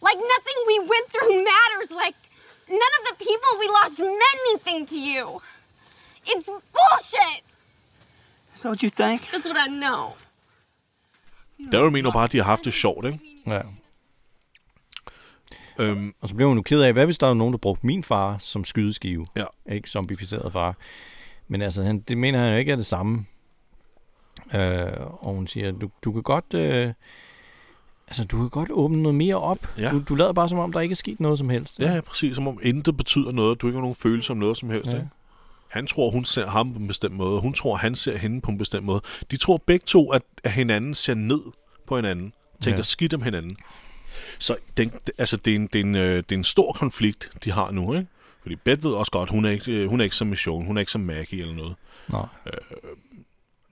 [SPEAKER 4] Like nothing we went through matters. Like none of the people we lost meant anything to you. It's bullshit.
[SPEAKER 5] It's That's what you think?
[SPEAKER 4] That's what I know.
[SPEAKER 1] Daryl mener bare, at de har haft det sjovt, ikke?
[SPEAKER 2] Ja.
[SPEAKER 1] Øhm,
[SPEAKER 2] Og så blev hun jo ked af, hvad hvis der var nogen, der brugte min far som skydeskive?
[SPEAKER 1] ja.
[SPEAKER 2] Ikke zombificeret far. Men altså, han, det mener han jo ikke er det samme. Øh, og hun siger, du, du kan godt... Øh, altså, du kan godt åbne noget mere op.
[SPEAKER 1] Ja.
[SPEAKER 2] Du, du lader bare som om, der ikke er sket noget som helst.
[SPEAKER 1] ja, ja, præcis. Som om intet betyder noget, og du ikke har nogen følelse om noget som helst,
[SPEAKER 2] Ja.
[SPEAKER 1] ja. ikke? Han tror, hun ser ham på en bestemt måde, og hun tror, han ser hende på en bestemt måde. De tror begge to, at, at hinanden ser ned på hinanden, tænker
[SPEAKER 2] Ja.
[SPEAKER 1] ja. skidt om hinanden. Så den, altså, det, er en, det, er en, øh, det er en stor konflikt, de har nu, ikke? Fordi Beth ved også godt, hun er ikke, øh, hun er ikke som Mission, hun er ikke som Maggie eller noget.
[SPEAKER 2] Nå.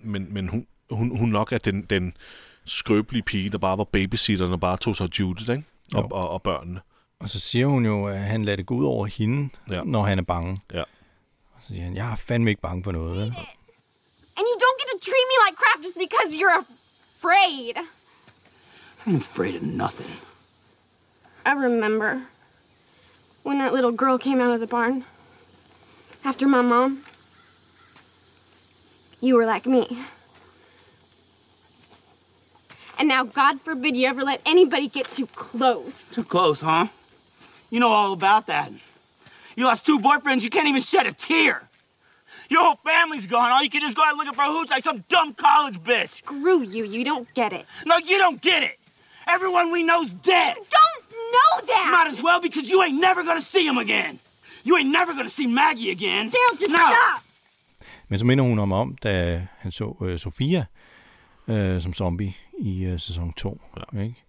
[SPEAKER 1] men, men hun, hun, hun nok er den, den skrøbelige pige, der bare var babysitteren og bare tog sig af Judith ikke?
[SPEAKER 2] Jo.
[SPEAKER 1] Og, og, og børnene.
[SPEAKER 2] Og så siger hun jo, at han lader det gå ud over hende, ja.
[SPEAKER 1] Ja.
[SPEAKER 2] når han er bange.
[SPEAKER 1] Ja.
[SPEAKER 2] Og så siger han, jeg er fandme ikke bange for noget. Vel?
[SPEAKER 4] And you don't get to treat me like crap just because you're afraid.
[SPEAKER 5] I ain't afraid of nothing.
[SPEAKER 4] I remember when that little girl came out of the barn after my mom. You were like me. And now, God forbid you ever let anybody get too close.
[SPEAKER 5] Too close, huh? You know all about that. You lost two boyfriends, you can't even shed a tear. Your whole family's gone. All you can do is go out looking for hoots like some dumb college bitch.
[SPEAKER 4] Screw you, you don't get it.
[SPEAKER 5] No, you don't get it. Everyone we know's dead.
[SPEAKER 4] Don't know
[SPEAKER 5] Might
[SPEAKER 4] that!
[SPEAKER 5] as well because you ain't never gonna see him again. You ain't never gonna see Maggie again.
[SPEAKER 4] Daryl, just
[SPEAKER 5] no.
[SPEAKER 4] stop!
[SPEAKER 2] Men så minder hun ham om, da han så øh, Sofia øh, som zombie i øh, sæson 2. Ja. Ikke?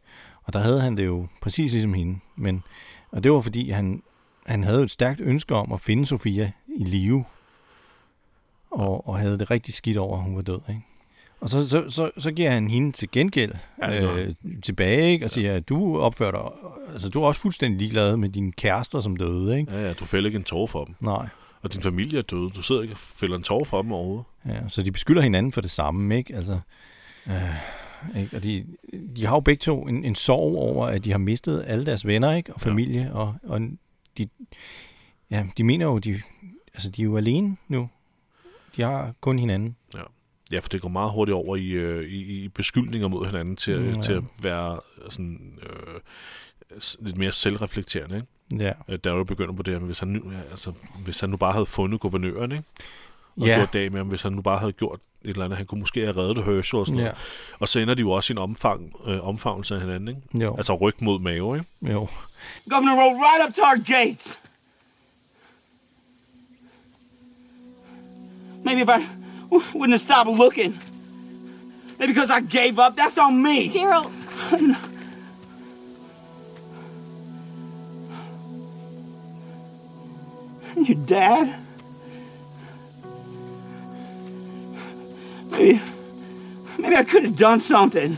[SPEAKER 2] Og der havde han det jo præcis ligesom hende. Men, og det var fordi, han, han havde jo et stærkt ønske om at finde Sofia i live. Og, og havde det rigtig skidt over, at hun var død. Ikke? Og så, så, så, så giver han hende til gengæld
[SPEAKER 1] gør
[SPEAKER 2] øh, tilbage, ikke? og siger, at du opfører dig, altså du er også fuldstændig ligeglad med dine kærester, som døde, ikke?
[SPEAKER 1] Ja, ja, du fælder ikke en tårer for dem.
[SPEAKER 2] Nej.
[SPEAKER 1] Og din familie er døde. Du sidder ikke og fælder en tårer for dem overhovedet.
[SPEAKER 2] Ja, så de beskylder hinanden for det samme, ikke? Altså, øh, ikke? Og de, de har jo begge to en, en sorg over, at de har mistet alle deres venner, ikke? Og familie, ja. og, og de, ja, de mener jo, de, altså, de er jo alene nu. De har kun hinanden.
[SPEAKER 1] Ja. ja, for det går meget hurtigt over i, øh, i, i beskyldninger mod hinanden til,
[SPEAKER 2] Mm, Ja.
[SPEAKER 1] ja. til at være sådan, øh, s- lidt mere selvreflekterende. Ikke?
[SPEAKER 2] Ja,
[SPEAKER 1] Øh, Daryl begynder på det her, men hvis han, nu, ja, altså, hvis han nu bare havde fundet guvernøren, ikke? og
[SPEAKER 2] Ja.
[SPEAKER 1] ja. gjort dag med ham, hvis han nu bare havde gjort et eller andet. Han kunne måske have reddet Herschel og sådan
[SPEAKER 2] Ja.
[SPEAKER 1] noget. Og så ender de jo også i en omfang, øh, omfavnelse af hinanden, ikke?
[SPEAKER 2] Jo.
[SPEAKER 1] Altså ryg mod mave, ikke?
[SPEAKER 2] jo.
[SPEAKER 5] Governor rolled right up to our gates. Maybe if I w- wouldn't have stopped looking. Maybe because I gave up. That's on me.
[SPEAKER 4] Daryl,
[SPEAKER 5] Your dad? Maybe, maybe I could have done something.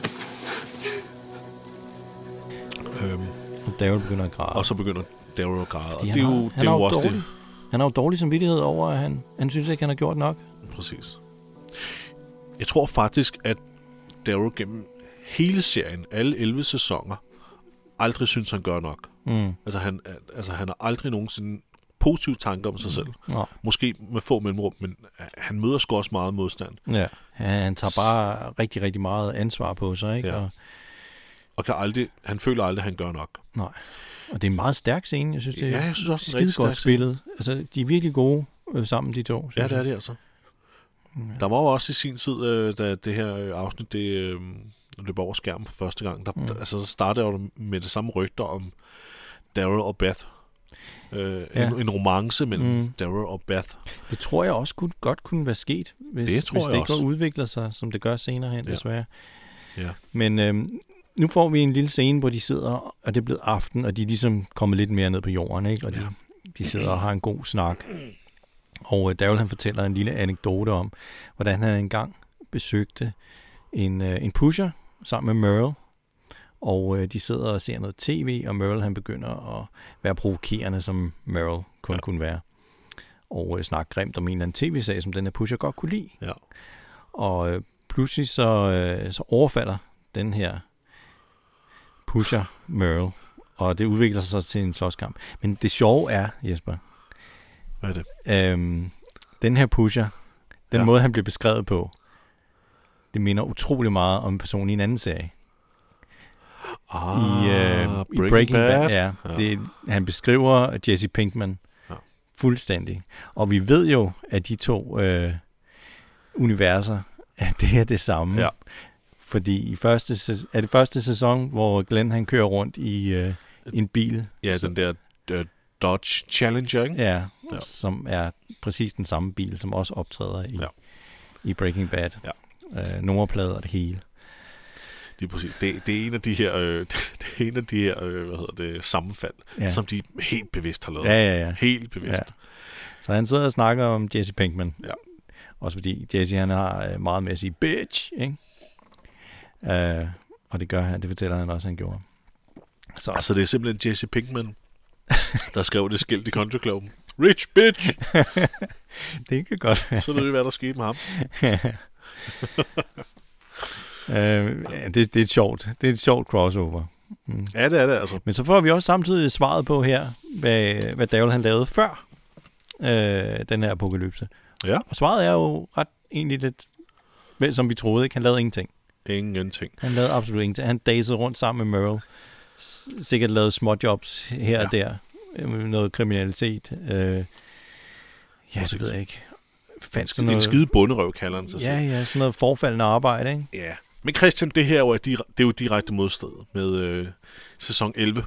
[SPEAKER 1] Øhm,
[SPEAKER 2] Og Daryl begynder at græde.
[SPEAKER 1] og så begynder Daryl at græde. Og
[SPEAKER 2] Fordi
[SPEAKER 1] det
[SPEAKER 2] han
[SPEAKER 1] er jo,
[SPEAKER 2] har-
[SPEAKER 1] det
[SPEAKER 2] han
[SPEAKER 1] er
[SPEAKER 2] har
[SPEAKER 1] jo
[SPEAKER 2] jo
[SPEAKER 1] også
[SPEAKER 2] dårlig- Han har jo dårlig samvittighed over, at han, han synes ikke, han har gjort nok.
[SPEAKER 1] det. Præcis. Jeg tror faktisk, at Daryl gennem hele serien, alle 11 sæsoner, aldrig synes, han gør nok. Mm. Altså, han, er- altså, han har aldrig nogensinde positive tanker om sig selv.
[SPEAKER 2] Nej.
[SPEAKER 1] Måske med få mellemrum, men øh, han møder sgu også meget modstand.
[SPEAKER 2] Ja. Han tager bare rigtig, rigtig meget ansvar på sig, ikke?
[SPEAKER 1] Ja.
[SPEAKER 2] Og,
[SPEAKER 1] Og kan aldrig, han føler aldrig, at han gør nok.
[SPEAKER 2] Nej. Og det er en meget stærk scene. Jeg synes, det er
[SPEAKER 1] Ja, jeg synes også, den er
[SPEAKER 2] skide
[SPEAKER 1] rigtig
[SPEAKER 2] godt
[SPEAKER 1] stærk scene.
[SPEAKER 2] spillet. Altså, de er virkelig gode øh, sammen, de to.
[SPEAKER 1] Ja,
[SPEAKER 2] synes
[SPEAKER 1] det er
[SPEAKER 2] jeg.
[SPEAKER 1] det altså. Der var jo også i sin tid, øh, da det her øh, afsnit det, øh, løb over skærmen for første gang, der, mm. der, altså, så startede jeg jo med det samme rygter om Daryl og Beth. Øh,
[SPEAKER 2] Ja.
[SPEAKER 1] ja. en, en romance mellem mm. Daryl og Beth.
[SPEAKER 2] Det tror jeg også kunne, godt kunne være sket, hvis
[SPEAKER 1] Det tror
[SPEAKER 2] hvis
[SPEAKER 1] jeg
[SPEAKER 2] det ikke
[SPEAKER 1] også.
[SPEAKER 2] udvikler sig, som det gør senere hen, ja.
[SPEAKER 1] Ja.
[SPEAKER 2] desværre.
[SPEAKER 1] Ja.
[SPEAKER 2] Men øhm, nu får vi en lille scene, hvor de sidder, og det er blevet aften, og de er ligesom kommet lidt mere ned på jorden, ikke? Og de, de sidder og har en god snak. Og øh, Daryl, han fortæller en lille anekdote om, hvordan han engang besøgte en, øh, en pusher sammen med Merle. Og øh, de sidder og ser noget tv, og Merle han begynder at være provokerende, som Merle kun ja. kunne være. Og øh, snakke grimt om en eller anden tv-sag, som den her pusher godt kunne lide.
[SPEAKER 1] Ja.
[SPEAKER 2] Og øh, pludselig så, øh, så overfalder den her pusher Merle, og det udvikler sig så til en slåskamp. Men det sjove er, Jesper,
[SPEAKER 1] Hvad er det?
[SPEAKER 2] øhm, den her pusher, den ja.
[SPEAKER 1] Ja.
[SPEAKER 2] måde han bliver beskrevet på, det minder utrolig meget om en person i en anden serie.
[SPEAKER 1] Ah,
[SPEAKER 2] I, øh, i Breaking Bad. Ja, det, han beskriver Jesse Pinkman
[SPEAKER 1] Ja.
[SPEAKER 2] ja. fuldstændig. Og vi ved jo, at de to øh, universer, at det er det samme.
[SPEAKER 1] Ja.
[SPEAKER 2] Fordi i første, sæs- er det første sæson, hvor Glenn han kører rundt i øh, en bil,
[SPEAKER 1] Ja, den der øh, Dodge Challenger, ikke?
[SPEAKER 2] ja,
[SPEAKER 1] Ja.
[SPEAKER 2] ja. som er præcis den samme bil, som også optræder i,
[SPEAKER 1] Ja.
[SPEAKER 2] ja. i Breaking Bad.
[SPEAKER 1] Ja.
[SPEAKER 2] Øh, nummerplader og det hele.
[SPEAKER 1] Lige præcis. Det, det er en af de her, øh, [laughs] det er en af de her øh, hvad hedder det, sammenfald, ja.
[SPEAKER 2] Ja.
[SPEAKER 1] som de helt bevidst har lavet.
[SPEAKER 2] Ja, ja, ja.
[SPEAKER 1] Helt bevidst.
[SPEAKER 2] Ja. Så han sidder og snakker om Jesse Pinkman.
[SPEAKER 1] Ja.
[SPEAKER 2] Også fordi Jesse han har øh, meget med at sige bitch, ikke? Øh, og det gør han, det fortæller han også, han gjorde. Så [laughs]
[SPEAKER 1] Altså, det er simpelthen Jesse Pinkman, der skrev det skilt i kontoklubben. Rich bitch!
[SPEAKER 2] det kan godt [laughs] være.
[SPEAKER 1] Så ved vi, hvad der skete med ham.
[SPEAKER 2] øh, ja, det, det er et sjovt. Det er et sjovt crossover.
[SPEAKER 1] Ja, det er det altså.
[SPEAKER 2] Men så får vi også samtidig svaret på her, hvad, hvad Davel han lavede før øh, den her apokalypse.
[SPEAKER 1] Ja,
[SPEAKER 2] Og svaret er jo ret egentlig lidt, vel, som vi troede, ikke? Han lavede ingenting.
[SPEAKER 1] ingenting.
[SPEAKER 2] Han lavede absolut ingenting. Han dasede rundt sammen med Merle. S- Sikkert lavede små jobs her ja. og der. Øh, Noget kriminalitet. Øh, ja, det ved jeg ikke. Fandt sådan
[SPEAKER 1] En
[SPEAKER 2] noget,
[SPEAKER 1] skide bunderøv kalder han sig selv.
[SPEAKER 2] ja, ja, sådan noget forfaldende arbejde, ikke?
[SPEAKER 1] Ja. Men Christian, det her er jo, et dire- det er jo et direkte modstrid med øh, sæson
[SPEAKER 2] [laughs]
[SPEAKER 1] 11,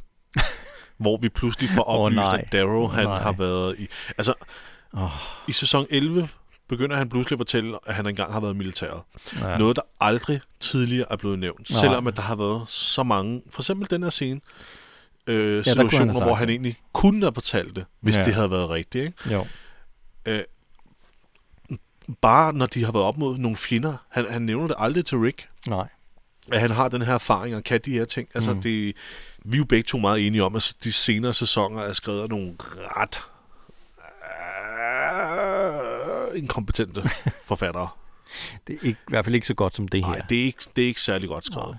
[SPEAKER 1] hvor vi pludselig får
[SPEAKER 2] Åh,
[SPEAKER 1] oplyst,
[SPEAKER 2] nej.
[SPEAKER 1] at Darrow han
[SPEAKER 2] Nej.
[SPEAKER 1] har været i... Altså, oh. i sæson 11 begynder han pludselig at fortælle, at han engang har været i militæret. Ja. Noget, der aldrig tidligere er blevet nævnt, Nej.
[SPEAKER 2] Nej.
[SPEAKER 1] selvom at der har været så mange... For eksempel den her scene, øh,
[SPEAKER 2] kunne han have
[SPEAKER 1] situationer,
[SPEAKER 2] sagt
[SPEAKER 1] hvor
[SPEAKER 2] det.
[SPEAKER 1] han egentlig kunne have fortalt det, hvis ja.
[SPEAKER 2] Ja.
[SPEAKER 1] det havde været rigtigt. Ikke?
[SPEAKER 2] Jo.
[SPEAKER 1] Bare når de har været op mod nogle fjender. Han, han nævner det aldrig til Rick,
[SPEAKER 2] Nej.
[SPEAKER 1] at han har den her erfaring og kan de her ting. Altså, mm. det, vi er jo begge to meget enige om, at de senere sæsoner er skrevet af nogle ret øh, inkompetente forfattere.
[SPEAKER 2] Det er ikke, i hvert fald ikke så godt som det her.
[SPEAKER 1] Nej, det er, ikke, det er ikke særlig godt skrevet.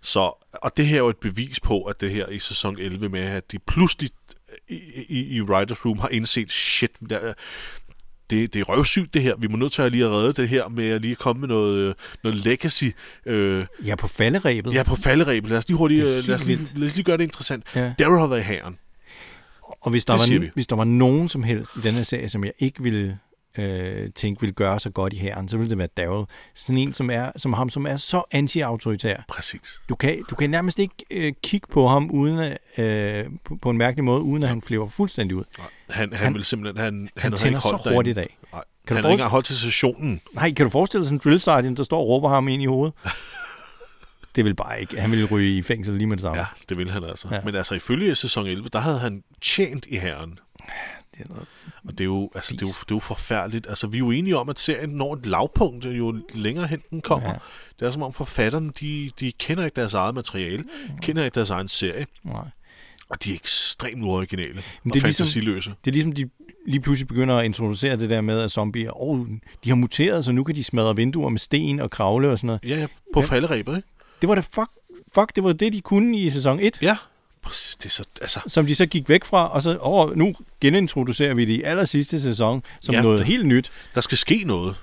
[SPEAKER 1] Så, og det her er jo et bevis på, at det her i sæson 11 med, at de pludselig øh, i, i, i Writers Room har indset, shit, der, det, det er røvsygt det her. Vi må nødt til at lige at redde det her med at lige komme med noget, øh, noget legacy øh,
[SPEAKER 2] Ja, på falderæbet.
[SPEAKER 1] Ja, på falderæbet. Lad os lige hurtigt,
[SPEAKER 2] Det er
[SPEAKER 1] øh, lad os lige,
[SPEAKER 2] helt
[SPEAKER 1] lad os lige gøre det interessant. Ja.
[SPEAKER 2] Ja.
[SPEAKER 1] Daryl har været i hæren.
[SPEAKER 2] Og hvis der,
[SPEAKER 1] Det siger vi.
[SPEAKER 2] var, hvis der var nogen som helst i den her serie, som jeg ikke ville øh, tænke ville gøre så godt i herren, så ville det være Daryl. Sådan en som, er, som ham, som er så anti-autoritær.
[SPEAKER 1] Præcis.
[SPEAKER 2] Du kan, du kan nærmest ikke øh, kigge på ham uden at, øh, på, på en mærkelig måde, uden at han flipper fuldstændig ud.
[SPEAKER 1] Han, han, han
[SPEAKER 2] Han-
[SPEAKER 1] vil simpelthen... Han, han,
[SPEAKER 2] Han
[SPEAKER 1] havde
[SPEAKER 2] tænder
[SPEAKER 1] ikke holdt
[SPEAKER 2] så hurtigt
[SPEAKER 1] derinde.
[SPEAKER 2] af.
[SPEAKER 1] Nej,
[SPEAKER 2] Kan
[SPEAKER 1] kan han
[SPEAKER 2] du
[SPEAKER 1] har ikke
[SPEAKER 2] forestille-
[SPEAKER 1] engang holdt til sessionen.
[SPEAKER 2] Nej, kan du forestille dig sådan en drill sergeant, der står og råber ham ind i
[SPEAKER 1] [laughs]
[SPEAKER 2] hovedet? Det vil bare ikke. Han ville ryge i fængsel lige med det samme.
[SPEAKER 1] Ja,
[SPEAKER 2] Ja.
[SPEAKER 1] det ville han altså. Ja.
[SPEAKER 2] Ja.
[SPEAKER 1] Men altså, ifølge sæson 11, der havde han tjent i herren.
[SPEAKER 2] Det er noget.
[SPEAKER 1] Og det er, jo, altså, det, er jo, det er jo forfærdeligt. Altså, vi er jo enige om, at serien når et lavpunkt, jo længere hen den kommer. Ja.
[SPEAKER 2] Ja.
[SPEAKER 1] Det er som om forfatterne, de, de kender ikke deres eget materiale, kender ikke deres egen serie,
[SPEAKER 2] Nej.
[SPEAKER 1] og de er ekstremt uoriginale
[SPEAKER 2] Men
[SPEAKER 1] og
[SPEAKER 2] det er ligesom-
[SPEAKER 1] fantasiløse.
[SPEAKER 2] Det er ligesom, de lige pludselig begynder at introducere det der med, at zombier, oh, de har muteret, så nu kan de smadre vinduer med sten og kravle og sådan noget.
[SPEAKER 1] Ja, ja, på ja. falderæbet, ikke?
[SPEAKER 2] Det var da fuck, fuck, det var det, de kunne i sæson 1,
[SPEAKER 1] Ja, præcis. Det er så, altså,
[SPEAKER 2] som de så gik væk fra, og så over, nu genintroducerer vi det i aller sidste sæson, som
[SPEAKER 1] Ja.
[SPEAKER 2] ja. noget helt nyt.
[SPEAKER 1] der skal ske noget.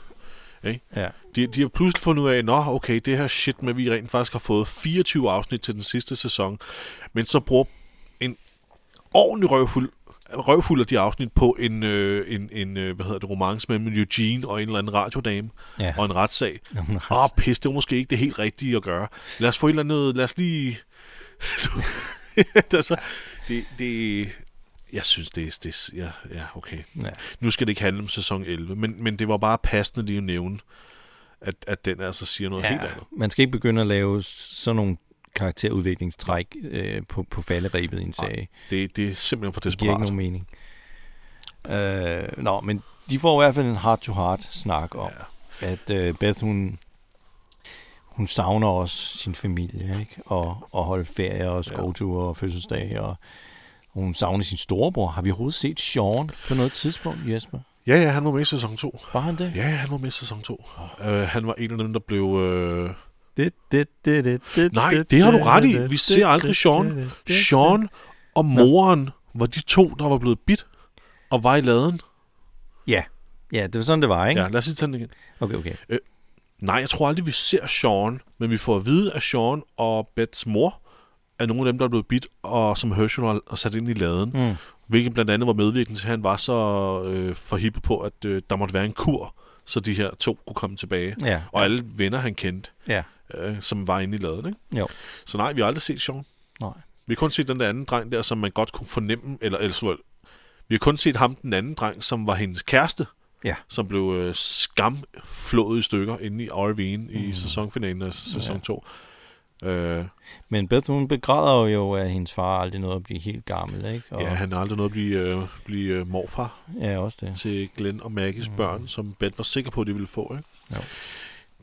[SPEAKER 1] Ikke?
[SPEAKER 2] Ja.
[SPEAKER 1] De, de har pludselig fundet ud af, nå, okay, det her shit med, at vi rent faktisk har fået 24 afsnit til den sidste sæson, men så bruger en ordentlig røvfuld, røvfuld af de afsnit på en, øh, en, en øh, hvad hedder det, romance mellem Eugene og en eller anden radiodame
[SPEAKER 2] Ja.
[SPEAKER 1] og en retssag. Åh,
[SPEAKER 2] en retssag.
[SPEAKER 1] oh, pis, det var måske ikke det helt rigtige at gøre. Lad os få et eller andet, lad os lige... [laughs] altså, det, det, jeg synes, det er... Det, er- ja, ja, okay.
[SPEAKER 2] Ja.
[SPEAKER 1] Nu skal det ikke handle om sæson 11, men, men det var bare passende lige at nævne, at, at den altså siger noget ja. helt
[SPEAKER 2] ja.
[SPEAKER 1] andet.
[SPEAKER 2] Man skal ikke begynde at lave sådan nogle karakterudviklingstræk øh, på, på falderibet i en serie.
[SPEAKER 1] Det, det er simpelthen for
[SPEAKER 2] Det giver ikke
[SPEAKER 1] desperat.
[SPEAKER 2] nogen mening. Øh, nå, men de får i hvert fald en heart-to-heart snak om, ja. at øh, Beth, hun, hun savner også sin familie, ikke? Og, og holde ferie og skovture og fødselsdage, og hun savner sin storebror. Har vi overhovedet set Sean på noget tidspunkt, Jesper?
[SPEAKER 1] Ja, ja, han var med i sæson 2.
[SPEAKER 2] Var han det?
[SPEAKER 1] Ja, ja, han var med i sæson 2. Uh, han var en af dem, der blev... Uh...
[SPEAKER 2] Det, det, det, det, det,
[SPEAKER 1] Nej, det har du ret i. Vi ser aldrig Sean. Sean og moren var de to, der var blevet bidt og var i laden.
[SPEAKER 2] Ja. ja, det var sådan, det var, ikke?
[SPEAKER 1] Ja, lad os lige tage den igen.
[SPEAKER 2] Okay, okay.
[SPEAKER 1] Nej, jeg tror aldrig, vi ser Sean, men vi får at vide, at Sean og Bets mor er nogle af dem, der er blevet bidt, og som Herschel har har sat ind i laden. Mm. Hvilket blandt andet var medvirkende til, at han var så øh, forhippet på, at øh, der måtte være en kur, så de her to kunne komme tilbage.
[SPEAKER 2] Ja.
[SPEAKER 1] Og alle venner, han kendte,
[SPEAKER 2] Ja.
[SPEAKER 1] øh, som var inde i laden. Ikke?
[SPEAKER 2] Jo.
[SPEAKER 1] Så nej, vi har aldrig set Sean.
[SPEAKER 2] Nej.
[SPEAKER 1] Vi har kun set den der anden dreng der, som man godt kunne fornemme, eller, eller så- vi har kun set ham, den anden dreng, som var hendes kæreste,
[SPEAKER 2] Ja.
[SPEAKER 1] som blev øh, skamflået i stykker inde i RV'en mm. i sæsonfinalen af sæson 2. Øh,
[SPEAKER 2] Men Beth, hun begræder jo, at hendes far aldrig nåede at blive helt gammel, ikke? Og,
[SPEAKER 1] ja, han har aldrig nået at blive, øh, blive øh, morfar
[SPEAKER 2] ja, også det.
[SPEAKER 1] til Glenn og Maggies mm. børn, som Bet var sikker på, at de ville få. Ikke?
[SPEAKER 2] Jo.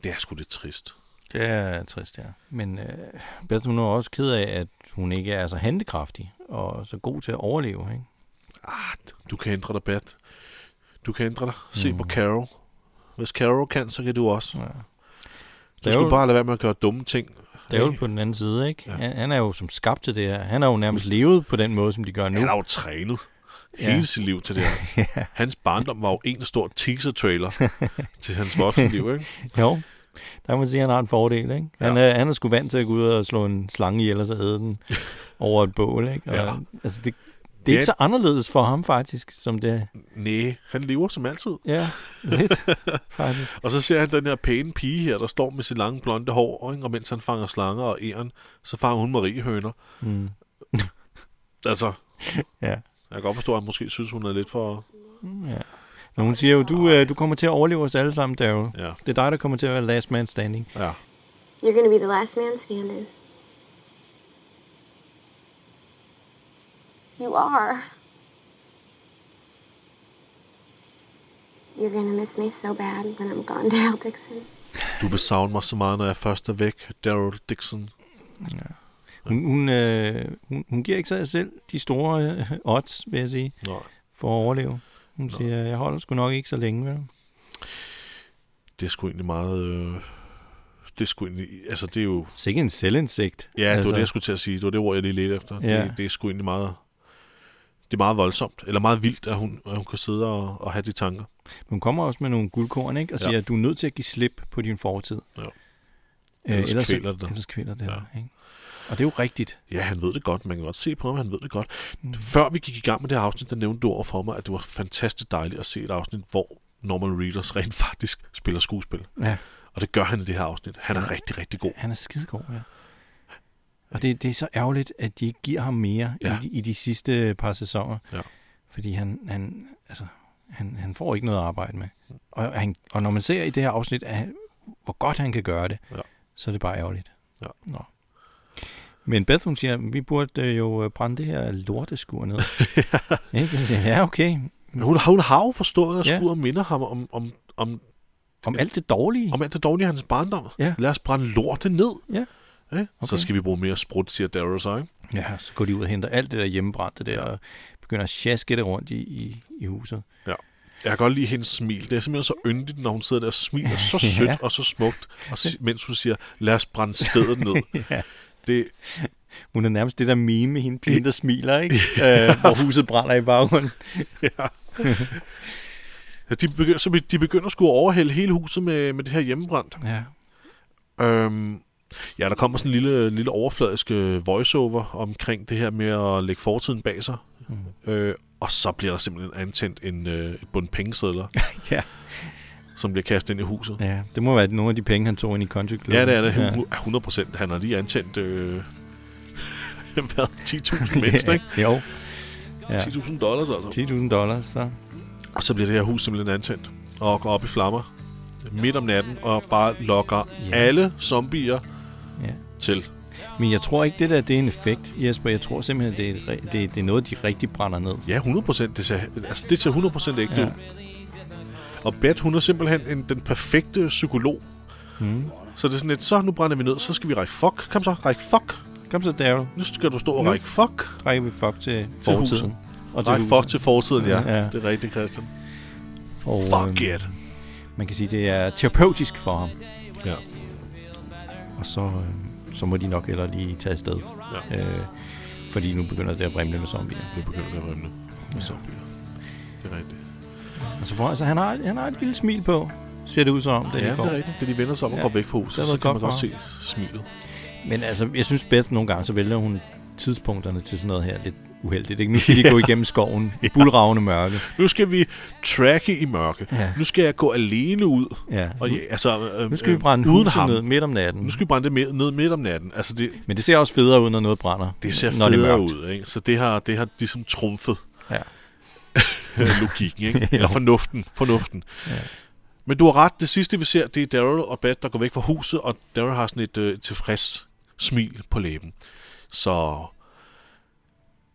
[SPEAKER 1] Det er sgu lidt trist.
[SPEAKER 2] Det er trist, ja. Men øh, Beth, hun er også ked af, at hun ikke er så handekraftig og så god til at overleve, ikke?
[SPEAKER 1] Ah, du kan ændre dig, Bet. Du kan ændre dig. Se mm. på Carol. Hvis Carol kan, så kan du også.
[SPEAKER 2] Ja.
[SPEAKER 1] Du
[SPEAKER 2] er
[SPEAKER 1] skal
[SPEAKER 2] jo-
[SPEAKER 1] bare lade være med at gøre dumme ting.
[SPEAKER 2] Dævel på den anden side, ikke? Ja. Han, han er jo som skabt til det her. Han har jo nærmest levet på den måde, som de gør nu.
[SPEAKER 1] Han har jo trænet
[SPEAKER 2] Ja.
[SPEAKER 1] ja. hele sit liv til det her.
[SPEAKER 2] [laughs]
[SPEAKER 1] Hans barndom var jo en stor teaser-trailer til hans voksne liv, ikke?
[SPEAKER 2] Jo, der kan man sige, at han har en fordel, ikke? Han, er, han er sgu vant til at gå ud og slå en slange ihjel, og så æde [laughs] den over et bål, ikke? Og,
[SPEAKER 1] Ja.
[SPEAKER 2] Altså, det, det er ikke
[SPEAKER 1] Det-
[SPEAKER 2] så anderledes for ham, faktisk, som det
[SPEAKER 1] Næh, han lever som altid.
[SPEAKER 2] Ja, lidt, [laughs] faktisk.
[SPEAKER 1] Og så ser han den her pæne pige her, der står med sit lange blonde hår, ikke? og mens han fanger slanger og æren, så fanger hun Mariehøner.
[SPEAKER 2] Mm.
[SPEAKER 1] [laughs] Altså,
[SPEAKER 2] Ja.
[SPEAKER 1] jeg kan godt forstå, at han måske synes, hun er lidt for...
[SPEAKER 2] Men hun siger jo, du, øh, du kommer til at overleve os alle sammen, Daryl.
[SPEAKER 1] Ja.
[SPEAKER 2] Det er dig, der kommer til at være last man standing.
[SPEAKER 1] Ja,
[SPEAKER 4] You're gonna be the last man standing. You are. You're gonna miss me so bad when I'm gone, [laughs] Dale Dixon.
[SPEAKER 1] du vil savne mig så meget, når jeg først er væk, Daryl Dixon.
[SPEAKER 2] Hun, hun, øh, hun, hun giver ikke sig selv de store øh, odds, vil jeg sige,
[SPEAKER 1] Nej.
[SPEAKER 2] for at overleve. Hun siger, jeg holder sgu nok ikke så længe, vel?
[SPEAKER 1] Det er sgu egentlig meget... Øh... Det er sgu egentlig... Altså, det er jo...
[SPEAKER 2] Sikke en selvindsigt.
[SPEAKER 1] Ja, altså, det var det, jeg skulle til at sige. Det var det ord, jeg lige ledte efter.
[SPEAKER 2] Ja.
[SPEAKER 1] Ja. Det, det er sgu egentlig meget... Det er meget voldsomt, eller meget vildt, at hun, at hun kan sidde og, og have de tanker.
[SPEAKER 2] Hun kommer også med nogle guldkorn, ikke? Og
[SPEAKER 1] Ja.
[SPEAKER 2] siger, at du er nødt til at give slip på din fortid.
[SPEAKER 1] Ja.
[SPEAKER 2] Øh,
[SPEAKER 1] Ellers
[SPEAKER 2] ellers
[SPEAKER 1] kvæler det dig.
[SPEAKER 2] Ellers kvæler det
[SPEAKER 1] Ja.
[SPEAKER 2] dig, ikke? Og det er jo rigtigt.
[SPEAKER 1] Ja, han ved det godt. Man kan godt se på ham, han ved det godt. Mm. Før vi gik i gang med det her afsnit, der nævnte du over for mig, at det var fantastisk dejligt at se et afsnit, hvor Norman Reedus rent faktisk spiller skuespil.
[SPEAKER 2] Ja.
[SPEAKER 1] Og det gør han i det her afsnit. Han er rigtig, rigtig god.
[SPEAKER 2] Han er skidegod, ja. Og det, det er så ærgerligt, at de ikke giver ham mere ja.
[SPEAKER 1] Ja.
[SPEAKER 2] i, de- i de sidste par sæsoner.
[SPEAKER 1] Ja.
[SPEAKER 2] Fordi han, han, altså, han, han får ikke noget at arbejde med.
[SPEAKER 1] Mm.
[SPEAKER 2] Og, han, og når man ser i det her afsnit, at han, hvor godt han kan gøre det,
[SPEAKER 1] Ja.
[SPEAKER 2] så er det bare ærgerligt.
[SPEAKER 1] Ja.
[SPEAKER 2] Nå. Men Beth, hun siger, vi burde øh, jo øh, brænde det her
[SPEAKER 1] [laughs]
[SPEAKER 2] lorteskur ned. ja. Ikke? Jeg siger, ja, okay.
[SPEAKER 1] Men Hun, hun har jo forstået, at
[SPEAKER 2] Ja.
[SPEAKER 1] skuret minder ham om, om, om,
[SPEAKER 2] Om alt det dårlige.
[SPEAKER 1] om alt det dårlige i hans barndom.
[SPEAKER 2] Ja.
[SPEAKER 1] Lad os brænde lortet ned.
[SPEAKER 2] Ja.
[SPEAKER 1] Okay. Så skal vi bruge mere sprut, siger Daryl så, ikke?
[SPEAKER 2] Ja, så går de ud og henter alt det der hjemmebrændte der, og begynder at sjaske det rundt i, i, i huset.
[SPEAKER 1] Ja. Jeg kan godt lide hendes smil. Det er simpelthen så yndigt, når hun sidder der og smiler [laughs] så sødt og så smukt, og si- mens hun siger, lad os brænde stedet ned. [laughs] ja. Det,
[SPEAKER 2] Hun er nærmest det der meme med hende, pigen, der
[SPEAKER 1] [laughs]
[SPEAKER 2] smiler, ikke? Øh, hvor huset brænder i baggrunden.
[SPEAKER 1] Altså, de, begynder, så be- de begynder sgu at overhælde hele huset med, med det her hjemmebrændt.
[SPEAKER 2] Ja.
[SPEAKER 1] Øhm, ja, der kommer sådan en lille, lille overfladisk øh, voiceover omkring det her med at lægge fortiden bag sig. Mm. Øh, og så bliver der simpelthen antændt en, øh, et bund [laughs] pengesedler,
[SPEAKER 2] ja.
[SPEAKER 1] som bliver kastet ind i huset.
[SPEAKER 2] Ja, det må være nogle af de penge, han tog ind i country Club.
[SPEAKER 1] Ja, det er det.
[SPEAKER 2] Ja.
[SPEAKER 1] 100 procent. Han har lige antændt øh, [laughs] hvad,
[SPEAKER 2] [laughs]
[SPEAKER 1] 10.000 mindst, ikke?
[SPEAKER 2] jo, Ja.
[SPEAKER 1] 10.000 dollars altså.
[SPEAKER 2] 10.000 dollars, så.
[SPEAKER 1] Og så bliver det her hus simpelthen antændt og går op i flammer midt om natten og bare lokker
[SPEAKER 2] Ja.
[SPEAKER 1] alle zombier
[SPEAKER 2] Ja.
[SPEAKER 1] til.
[SPEAKER 2] Men jeg tror ikke, det der det er en effekt, Jesper. Jeg tror simpelthen, det er, re- det, det er noget, de rigtig brænder ned.
[SPEAKER 1] Ja, 100%. Det ser, altså, det ser 100% ægte
[SPEAKER 2] Ja.
[SPEAKER 1] ja. ud. Og Beth, hun er simpelthen en, den perfekte psykolog.
[SPEAKER 2] Mm.
[SPEAKER 1] Så det er sådan lidt, så nu brænder vi ned, så skal vi række fuck. Kom så, række fuck.
[SPEAKER 2] Kom så, Daryl.
[SPEAKER 1] Nu skal du stå og
[SPEAKER 2] Nu.
[SPEAKER 1] række fuck.
[SPEAKER 2] Rækker vi fuck til fortiden. og
[SPEAKER 1] Række fuck til fortiden, ja.
[SPEAKER 2] Ja.
[SPEAKER 1] ja. Det er rigtigt, Christian.
[SPEAKER 2] Og,
[SPEAKER 1] Fuck
[SPEAKER 2] øhm,
[SPEAKER 1] it.
[SPEAKER 2] Man kan sige, det er terapeutisk for ham.
[SPEAKER 1] Ja.
[SPEAKER 2] Og så, øh, så må de nok heller lige tage afsted.
[SPEAKER 1] Ja.
[SPEAKER 2] Øh, fordi nu begynder det at vrimle med zombier.
[SPEAKER 1] Nu begynder det at rømme med zombier. Det er rigtigt.
[SPEAKER 2] altså, Og så får han, så han, har, han har et lille smil på. ser det ud som om, da
[SPEAKER 1] Ja,
[SPEAKER 2] de
[SPEAKER 1] det er
[SPEAKER 2] kommer.
[SPEAKER 1] rigtigt. Da de vender sig om og
[SPEAKER 2] Ja,
[SPEAKER 1] går væk fra
[SPEAKER 2] det
[SPEAKER 1] huset,
[SPEAKER 2] har
[SPEAKER 1] så
[SPEAKER 2] været
[SPEAKER 1] kan man
[SPEAKER 2] godt
[SPEAKER 1] godt
[SPEAKER 2] for
[SPEAKER 1] se smilet.
[SPEAKER 2] Men altså, jeg synes bedst nogle gange, så vælger hun tidspunkterne til sådan noget her lidt
[SPEAKER 1] [laughs]
[SPEAKER 2] uheldigt. Ikke? Nu skal de gå igennem skoven, bulravende mørke.
[SPEAKER 1] Nu skal vi tracke i mørke.
[SPEAKER 2] Ja.
[SPEAKER 1] Nu skal jeg gå alene ud.
[SPEAKER 2] Ja.
[SPEAKER 1] Og ja, altså, øh,
[SPEAKER 2] Nu skal vi
[SPEAKER 1] øh,
[SPEAKER 2] brænde
[SPEAKER 1] uden
[SPEAKER 2] huset
[SPEAKER 1] ham.
[SPEAKER 2] ned midt om natten.
[SPEAKER 1] Nu skal vi brænde det med- ned midt om natten. Altså, det,
[SPEAKER 2] Men det ser også federe ud, når noget brænder.
[SPEAKER 1] det ser
[SPEAKER 2] når
[SPEAKER 1] federe
[SPEAKER 2] mørkt.
[SPEAKER 1] ud, ikke? Så det har, det har ligesom trumfet
[SPEAKER 2] Ja.
[SPEAKER 1] øh, [laughs] logikken,
[SPEAKER 2] [laughs]
[SPEAKER 1] ikke? Eller fornuften. fornuften. Ja. Men du har ret. Det sidste, vi ser, det er Daryl og Beth, der går væk fra huset, og Daryl har sådan et øh, tilfreds smil på læben. Så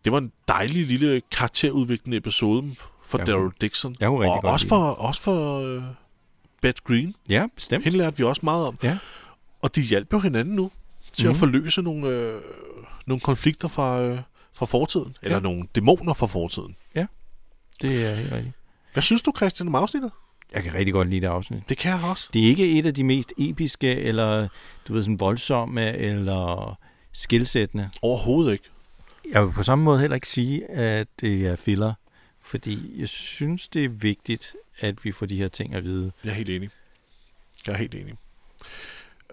[SPEAKER 1] det var en dejlig lille karakterudviklende episode for
[SPEAKER 2] Jeg
[SPEAKER 1] ja,
[SPEAKER 2] kunne-
[SPEAKER 1] Daryl Dixon.
[SPEAKER 2] jeg kunne rigtig
[SPEAKER 1] og
[SPEAKER 2] godt
[SPEAKER 1] også
[SPEAKER 2] lide
[SPEAKER 1] for, også for øh, Beth Green.
[SPEAKER 2] ja, bestemt.
[SPEAKER 1] Hende lærte vi også meget om.
[SPEAKER 2] Ja.
[SPEAKER 1] Og de hjalp jo hinanden nu til mm. at forløse nogle, øh, nogle konflikter fra, øh, fra fortiden. Eller
[SPEAKER 2] Ja.
[SPEAKER 1] nogle dæmoner fra fortiden.
[SPEAKER 2] Det er helt rigtigt.
[SPEAKER 1] Hvad synes du, Christian, om afsnittet?
[SPEAKER 2] Jeg kan rigtig godt lide det afsnit.
[SPEAKER 1] Det kan jeg også.
[SPEAKER 2] Det er ikke et af de mest episke, eller du ved, sådan voldsomme, eller skilsættende.
[SPEAKER 1] Overhovedet ikke.
[SPEAKER 2] Jeg vil på samme måde heller ikke sige, at det er filler, fordi jeg synes, det er vigtigt, at vi får de her ting at vide.
[SPEAKER 1] Jeg er helt enig. Jeg er helt enig.